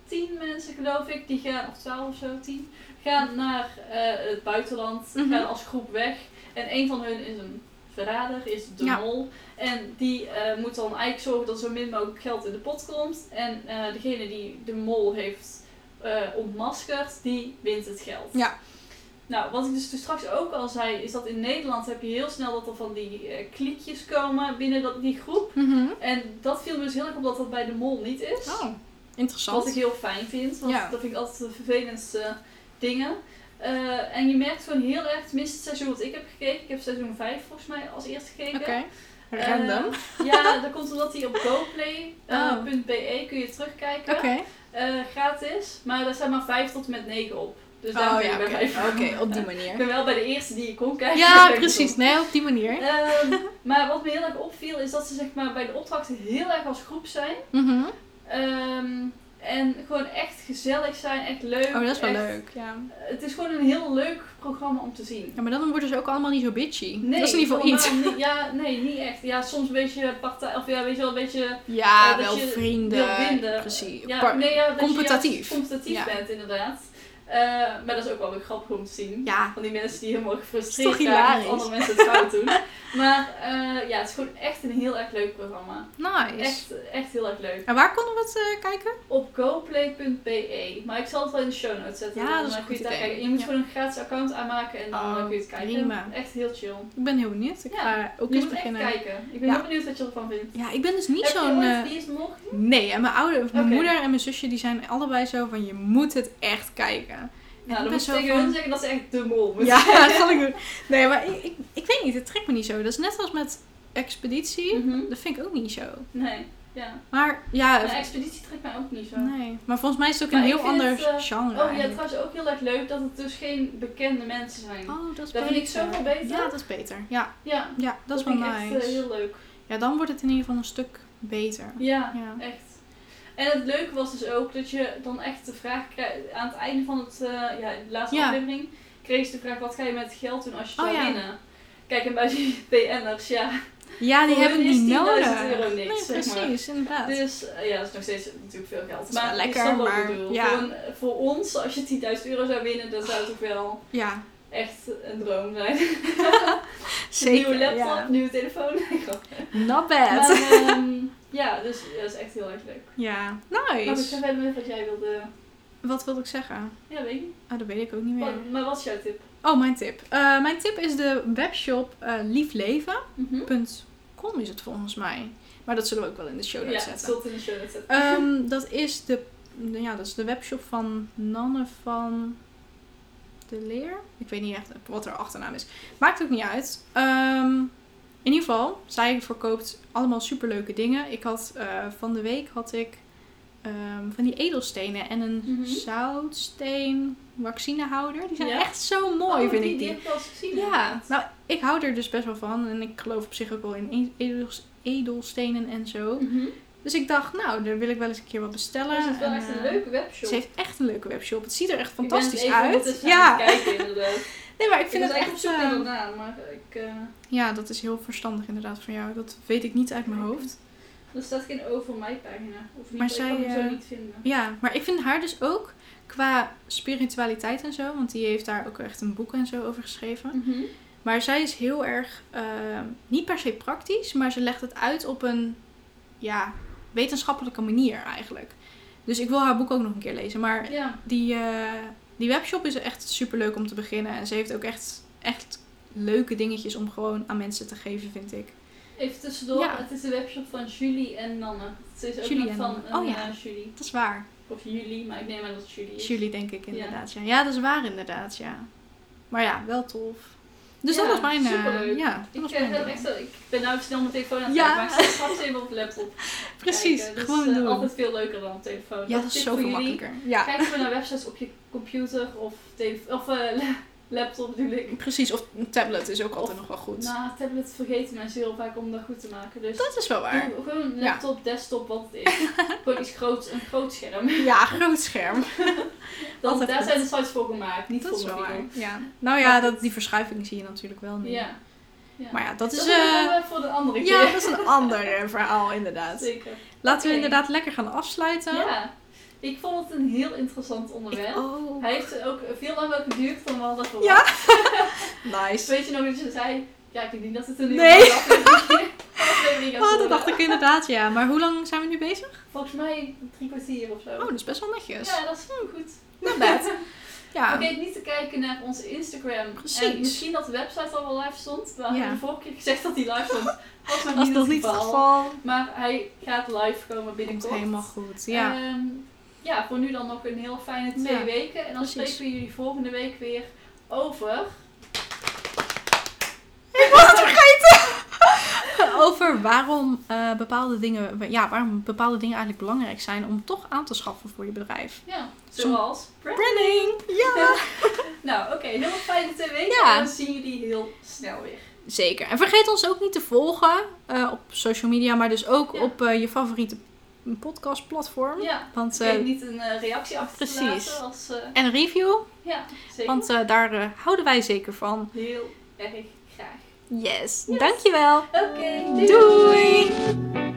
Speaker 2: Tien mensen geloof ik, die gaan, of twaalf of zo, tien, gaan naar eh, het buitenland.
Speaker 1: Mhm.
Speaker 2: Gaan als groep weg. En een van hun is een verrader, is de
Speaker 1: Ja.
Speaker 2: mol. En die eh, moet dan eigenlijk zorgen dat zo min mogelijk geld in de pot komt. En eh, degene die de mol heeft eh, ontmaskerd, die wint het geld.
Speaker 1: Ja.
Speaker 2: Nou, wat ik dus toen straks ook al zei, is dat in Nederland heb je heel snel dat er van die eh, kliekjes komen binnen dat, die groep.
Speaker 1: Mhm.
Speaker 2: En dat viel me dus heel erg op dat dat bij de mol niet is.
Speaker 1: Oh,
Speaker 2: Wat ik
Speaker 1: interessant.
Speaker 2: heel fijn vind, want
Speaker 1: Ja.
Speaker 2: dat vind ik altijd de vervelendste dingen. Eh, en je merkt gewoon heel erg, tenminste het seizoen wat ik heb gekeken, ik heb seizoen 5 volgens mij als eerst gekeken.
Speaker 1: Oké. Random. Oh. Oké.
Speaker 2: Eh, ja, dat komt omdat die op eh, goplay.be E kun je terugkijken, eh, gratis. Maar daar staan maar 5 tot en met 9 op. Dus daar
Speaker 1: Oh
Speaker 2: ben
Speaker 1: ja,
Speaker 2: ik bij
Speaker 1: oké.
Speaker 2: vijf.
Speaker 1: Oké, op die
Speaker 2: Ik
Speaker 1: manier.
Speaker 2: ben wel bij de eerste die ik kon kijken.
Speaker 1: Ja,
Speaker 2: Ben ik
Speaker 1: precies. Nee, op die manier.
Speaker 2: Ehm, maar wat me heel erg opviel is dat ze zeg maar, bij de opdrachten heel erg als groep zijn.
Speaker 1: Mhm.
Speaker 2: Ehm, en gewoon echt gezellig zijn, echt leuk.
Speaker 1: Oh, dat is wel
Speaker 2: echt-
Speaker 1: leuk. Ja.
Speaker 2: Het is gewoon een heel leuk programma om te zien.
Speaker 1: ja, maar dan worden ze ook allemaal niet zo bitchy.
Speaker 2: Nee,
Speaker 1: dat is in ieder geval iets.
Speaker 2: helemaal niet- ja, nee, niet echt. Ja, soms een beetje partij, of ja, weet je wel, een beetje
Speaker 1: Ja,
Speaker 2: Eh, dat
Speaker 1: wel
Speaker 2: je
Speaker 1: vrienden.
Speaker 2: wil winnen.
Speaker 1: Precies.
Speaker 2: ja,
Speaker 1: Par-
Speaker 2: nee, ja, dat je
Speaker 1: competitief.
Speaker 2: juist competitief
Speaker 1: Ja.
Speaker 2: bent, inderdaad. Eh, maar dat is ook wel weer grappig om te zien.
Speaker 1: ja.
Speaker 2: Van die mensen die helemaal
Speaker 1: Is
Speaker 2: gefrustreerd
Speaker 1: toch
Speaker 2: zijn dat
Speaker 1: hilarisch?
Speaker 2: andere mensen het fout doen. Maar eh, ja, het is gewoon echt een heel erg leuk programma.
Speaker 1: nice.
Speaker 2: Echt, echt heel erg leuk.
Speaker 1: En waar konden we het eh, kijken?
Speaker 2: Op goplay.be. E. Maar ik zal het wel in de show notes zetten.
Speaker 1: Ja,
Speaker 2: dan
Speaker 1: dat is
Speaker 2: eh,
Speaker 1: een
Speaker 2: kun je
Speaker 1: goed
Speaker 2: het daar
Speaker 1: idee.
Speaker 2: kijken. Je moet
Speaker 1: Ja.
Speaker 2: gewoon een gratis account aanmaken en dan
Speaker 1: Oh,
Speaker 2: eh, kun je het kijken.
Speaker 1: prima.
Speaker 2: Echt heel chill.
Speaker 1: Ik ben heel benieuwd. Ik
Speaker 2: Ja.
Speaker 1: ga ook
Speaker 2: je
Speaker 1: eens
Speaker 2: moet
Speaker 1: beginnen.
Speaker 2: echt kijken. Ik ben
Speaker 1: Ja.
Speaker 2: heel benieuwd wat je ervan vindt.
Speaker 1: Ja, ik ben dus niet
Speaker 2: Heb je
Speaker 1: zo'n.
Speaker 2: ooit
Speaker 1: eh,
Speaker 2: Wie is de Mol gezien?
Speaker 1: nee, en mijn ouder, mijn
Speaker 2: Oké.
Speaker 1: moeder en mijn zusje die zijn allebei zo van je moet het echt kijken. ben
Speaker 2: Nou, dan moet je
Speaker 1: zo
Speaker 2: tegen
Speaker 1: van-
Speaker 2: hun zeggen dat ze echt de mol moeten
Speaker 1: Ja, dat zal ik doen. Nee, maar ik, ik, ik weet niet, het trekt me niet zo. Dat is net als met expeditie.
Speaker 2: zijn. Mhm.
Speaker 1: Dat vind ik ook niet zo.
Speaker 2: Nee, ja.
Speaker 1: Maar ja,
Speaker 2: Maar expeditie trekt mij ook niet zo.
Speaker 1: nee. Maar volgens mij is het ook
Speaker 2: Maar
Speaker 1: een
Speaker 2: ik
Speaker 1: heel
Speaker 2: vind
Speaker 1: ander
Speaker 2: het, eh,
Speaker 1: genre.
Speaker 2: Oh ja,
Speaker 1: eigenlijk.
Speaker 2: trouwens ook heel erg leuk dat het dus geen bekende mensen zijn.
Speaker 1: oh, dat is
Speaker 2: dat
Speaker 1: beter.
Speaker 2: vind ik zoveel beter.
Speaker 1: Ja, dat is beter. Ja,
Speaker 2: Ja,
Speaker 1: ja dat, is wel
Speaker 2: vind ik echt
Speaker 1: nice.
Speaker 2: eh, heel leuk.
Speaker 1: Ja, dan wordt het in ieder geval een stuk beter.
Speaker 2: Ja,
Speaker 1: Ja.
Speaker 2: echt. En het leuke was dus ook dat je dan echt de vraag krijgt aan het einde van het, eh, ja, de laatste
Speaker 1: Ja.
Speaker 2: aflevering, kreeg je de vraag wat ga je met geld doen als je het
Speaker 1: Oh,
Speaker 2: zou
Speaker 1: ja.
Speaker 2: winnen. Kijk, en bij die BN'ers, ja.
Speaker 1: Ja, die
Speaker 2: Voor
Speaker 1: hebben
Speaker 2: hun
Speaker 1: niet
Speaker 2: is 10.000
Speaker 1: nodig.
Speaker 2: euro niks,
Speaker 1: nee,
Speaker 2: zeg maar.
Speaker 1: precies, inderdaad.
Speaker 2: Dus eh, ja, dat is nog steeds natuurlijk veel geld.
Speaker 1: is wel
Speaker 2: Maar ik
Speaker 1: lekker,
Speaker 2: snap wat ik
Speaker 1: maar
Speaker 2: bedoel.
Speaker 1: ja.
Speaker 2: Gewoon, eh, voor ons, als je 10.000 euro zou winnen, dan zou het ook wel
Speaker 1: Ja,
Speaker 2: echt een droom zijn.
Speaker 1: zeker.
Speaker 2: nieuwe laptop,
Speaker 1: ja.
Speaker 2: nieuwe telefoon.
Speaker 1: Not bad.
Speaker 2: Maar, ehm, ja, dus ja, dat is echt heel erg leuk.
Speaker 1: Ja,
Speaker 2: Maar ik ga
Speaker 1: nice.
Speaker 2: verder met wat jij wilde.
Speaker 1: Wat wilde ik zeggen?
Speaker 2: Ja, weet ik niet.
Speaker 1: Oh, dat weet ik ook niet meer.
Speaker 2: Wat- Maar wat is jouw tip?
Speaker 1: Oh, mijn tip. Eh, mijn tip is de webshop eh liefleven.com.
Speaker 2: Mhm.
Speaker 1: Stockholm is het volgens mij. Maar dat zullen we ook wel in de show notes
Speaker 2: ja,
Speaker 1: zetten.
Speaker 2: zult in de show notes zetten.
Speaker 1: Ehm, dat is de, ja, dat is de webshop van Nanne van de Leer. Ik weet niet echt wat haar achternaam is. Maakt ook niet uit. Ehm, in ieder geval, zij verkoopt allemaal superleuke dingen. Ik had eh, van de week had ik ehm, van die edelstenen en een
Speaker 2: Mhm.
Speaker 1: zoutsteen vaccinehouder. Die zijn
Speaker 2: Ja.
Speaker 1: echt zo mooi,
Speaker 2: Oh,
Speaker 1: vind
Speaker 2: die,
Speaker 1: ik die.
Speaker 2: Die heb ik wel eens gezien.
Speaker 1: Ja,
Speaker 2: inderdaad.
Speaker 1: nou, ik hou er dus best wel van. En ik geloof op zich ook wel in e- edels- edelstenen en zo.
Speaker 2: Mhm.
Speaker 1: Dus ik dacht, nou, daar wil ik wel eens een keer wat bestellen.
Speaker 2: Dus het is wel
Speaker 1: En,
Speaker 2: echt een
Speaker 1: eh,
Speaker 2: leuke webshop.
Speaker 1: Ze heeft echt een leuke webshop. Het ziet er echt
Speaker 2: Ik ben het
Speaker 1: fantastisch
Speaker 2: even
Speaker 1: uit.
Speaker 2: ondertussen aan
Speaker 1: Ja,
Speaker 2: het kijken, inderdaad.
Speaker 1: nee, maar ik vind het
Speaker 2: was eigenlijk
Speaker 1: echt.
Speaker 2: op zoek naar
Speaker 1: eh,
Speaker 2: een naam, maar ik, eh,
Speaker 1: ja, dat is heel verstandig inderdaad van jou. Dat weet ik niet uit mijn
Speaker 2: Kijk.
Speaker 1: hoofd.
Speaker 2: er staat geen O voor mij pagina. Of niet,
Speaker 1: Maar
Speaker 2: maar ik
Speaker 1: zij,
Speaker 2: kan hem zo
Speaker 1: eh,
Speaker 2: niet vinden.
Speaker 1: Ja, maar ik vind haar dus ook qua spiritualiteit en zo. Want die heeft daar ook echt een boek en zo over geschreven.
Speaker 2: Mhm.
Speaker 1: Maar zij is heel erg, eh, niet per se praktisch, maar ze legt het uit op een ja, wetenschappelijke manier eigenlijk. Dus ik wil haar boek ook nog een keer lezen. Maar
Speaker 2: Ja,
Speaker 1: die, eh, die webshop is echt super leuk om te beginnen. En ze heeft ook echt, echt leuke dingetjes om gewoon aan mensen te geven, vind ik.
Speaker 2: even tussendoor.
Speaker 1: Ja.
Speaker 2: Het is de webshop van Julie en Nanne. Ze is ook
Speaker 1: Julie
Speaker 2: nog
Speaker 1: en
Speaker 2: van
Speaker 1: Nanne.
Speaker 2: een,
Speaker 1: Oh, ja.
Speaker 2: eh, Julie.
Speaker 1: Dat is waar.
Speaker 2: Of Julie, maar ik neem aan dat het Julie is.
Speaker 1: Julie, Dus denk ik inderdaad. Ja. Ja. dat is waar inderdaad, ja. Maar ja, wel tof. Dus
Speaker 2: Ja,
Speaker 1: dat was mijn... eh,
Speaker 2: superleuk.
Speaker 1: ja, dat
Speaker 2: Ik,
Speaker 1: was
Speaker 2: eh,
Speaker 1: mijn
Speaker 2: heb
Speaker 1: ding.
Speaker 2: echt zo- ik ben nou snel mijn telefoon aan het
Speaker 1: Ja.
Speaker 2: kijken, maar ik zit straks even op de laptop.
Speaker 1: Precies,
Speaker 2: kijken. Dus,
Speaker 1: gewoon
Speaker 2: eh,
Speaker 1: doen.
Speaker 2: altijd veel leuker dan op telefoon.
Speaker 1: ja, dat is
Speaker 2: tip voor
Speaker 1: zoveel
Speaker 2: jullie.
Speaker 1: makkelijker. Ja,
Speaker 2: Kijk even naar websites op je computer of, tele- of eh, la- laptop bedoel ik.
Speaker 1: precies. Of een tablet is ook altijd nog wel goed.
Speaker 2: Nou, tablet vergeten mensen heel vaak om dat goed te maken. Dus
Speaker 1: dat is wel waar.
Speaker 2: doe gewoon een
Speaker 1: Ja.
Speaker 2: laptop, desktop, wat het is. gewoon iets groots, een groot scherm.
Speaker 1: Ja, groot scherm.
Speaker 2: Dat,
Speaker 1: Altijd
Speaker 2: daar
Speaker 1: goed.
Speaker 2: zijn de sites voor gemaakt, niet
Speaker 1: Dat is
Speaker 2: voor
Speaker 1: wel
Speaker 2: mobiel.
Speaker 1: waar. Ja. Nou ja, dat, die verschuiving zie je natuurlijk wel nu.
Speaker 2: Ja. ja.
Speaker 1: Maar ja, dat
Speaker 2: dat
Speaker 1: is...
Speaker 2: is
Speaker 1: eh,
Speaker 2: voor de andere
Speaker 1: Ja,
Speaker 2: keer.
Speaker 1: dat is een ander eh, verhaal, inderdaad.
Speaker 2: Zeker.
Speaker 1: Laten we
Speaker 2: Oké.
Speaker 1: inderdaad lekker gaan afsluiten.
Speaker 2: Ja. Ik vond het een heel interessant
Speaker 1: Ik oh,
Speaker 2: onderwerp.
Speaker 1: ook.
Speaker 2: Hij heeft ook veel langer geduurd dan we hadden verwacht.
Speaker 1: Ja.
Speaker 2: Dus
Speaker 1: Nice.
Speaker 2: Weet je nog dat je zei, ja ik denk niet dat het een uur
Speaker 1: Nee.
Speaker 2: is, dat we- aflevering
Speaker 1: Oh,
Speaker 2: gaat
Speaker 1: dat
Speaker 2: worden.
Speaker 1: dacht ik inderdaad, ja. Maar hoe lang zijn we nu bezig?
Speaker 2: Volgens mij drie kwartier of zo.
Speaker 1: Oh, dat is best wel netjes.
Speaker 2: ja, dat is wel goed.
Speaker 1: Not bad. Ja,
Speaker 2: Vergeet niet te kijken naar onze Instagram.
Speaker 1: Precies.
Speaker 2: En misschien dat de website al wel live stond. We hadden
Speaker 1: Ja.
Speaker 2: de vorige keer gezegd dat hij live stond. Was nog
Speaker 1: als
Speaker 2: niet,
Speaker 1: dat
Speaker 2: het
Speaker 1: niet het
Speaker 2: geval.
Speaker 1: geval
Speaker 2: Maar hij gaat live komen
Speaker 1: komt
Speaker 2: binnenkort.
Speaker 1: helemaal goed. Ja,
Speaker 2: Ehm, ja, voor nu dan nog een heel fijne twee
Speaker 1: Ja,
Speaker 2: weken. En dan
Speaker 1: precies.
Speaker 2: spreken we jullie volgende week weer over...
Speaker 1: over waarom, eh, bepaalde dingen, ja, waarom bepaalde dingen eigenlijk belangrijk zijn om toch aan te schaffen voor je bedrijf.
Speaker 2: Ja,
Speaker 1: Som-
Speaker 2: zoals... Brad.
Speaker 1: Branding! Ja!
Speaker 2: Nou, oké. heel fijne twee weken.
Speaker 1: Ja.
Speaker 2: En dan zien jullie heel snel weer.
Speaker 1: Zeker. En vergeet ons ook niet te volgen eh, op social media, maar dus ook
Speaker 2: Ja.
Speaker 1: op eh, je favoriete podcastplatform.
Speaker 2: Ja.
Speaker 1: Want, eh,
Speaker 2: Vergeet niet een eh, reactie achter te
Speaker 1: precies.
Speaker 2: laten. Als, eh,
Speaker 1: en een review,
Speaker 2: ja, zeker.
Speaker 1: want eh, daar eh, houden wij zeker van.
Speaker 2: Heel erg graag.
Speaker 1: Yes,
Speaker 2: Yes.
Speaker 1: dankjewel.
Speaker 2: Oké, doei.
Speaker 1: Doei.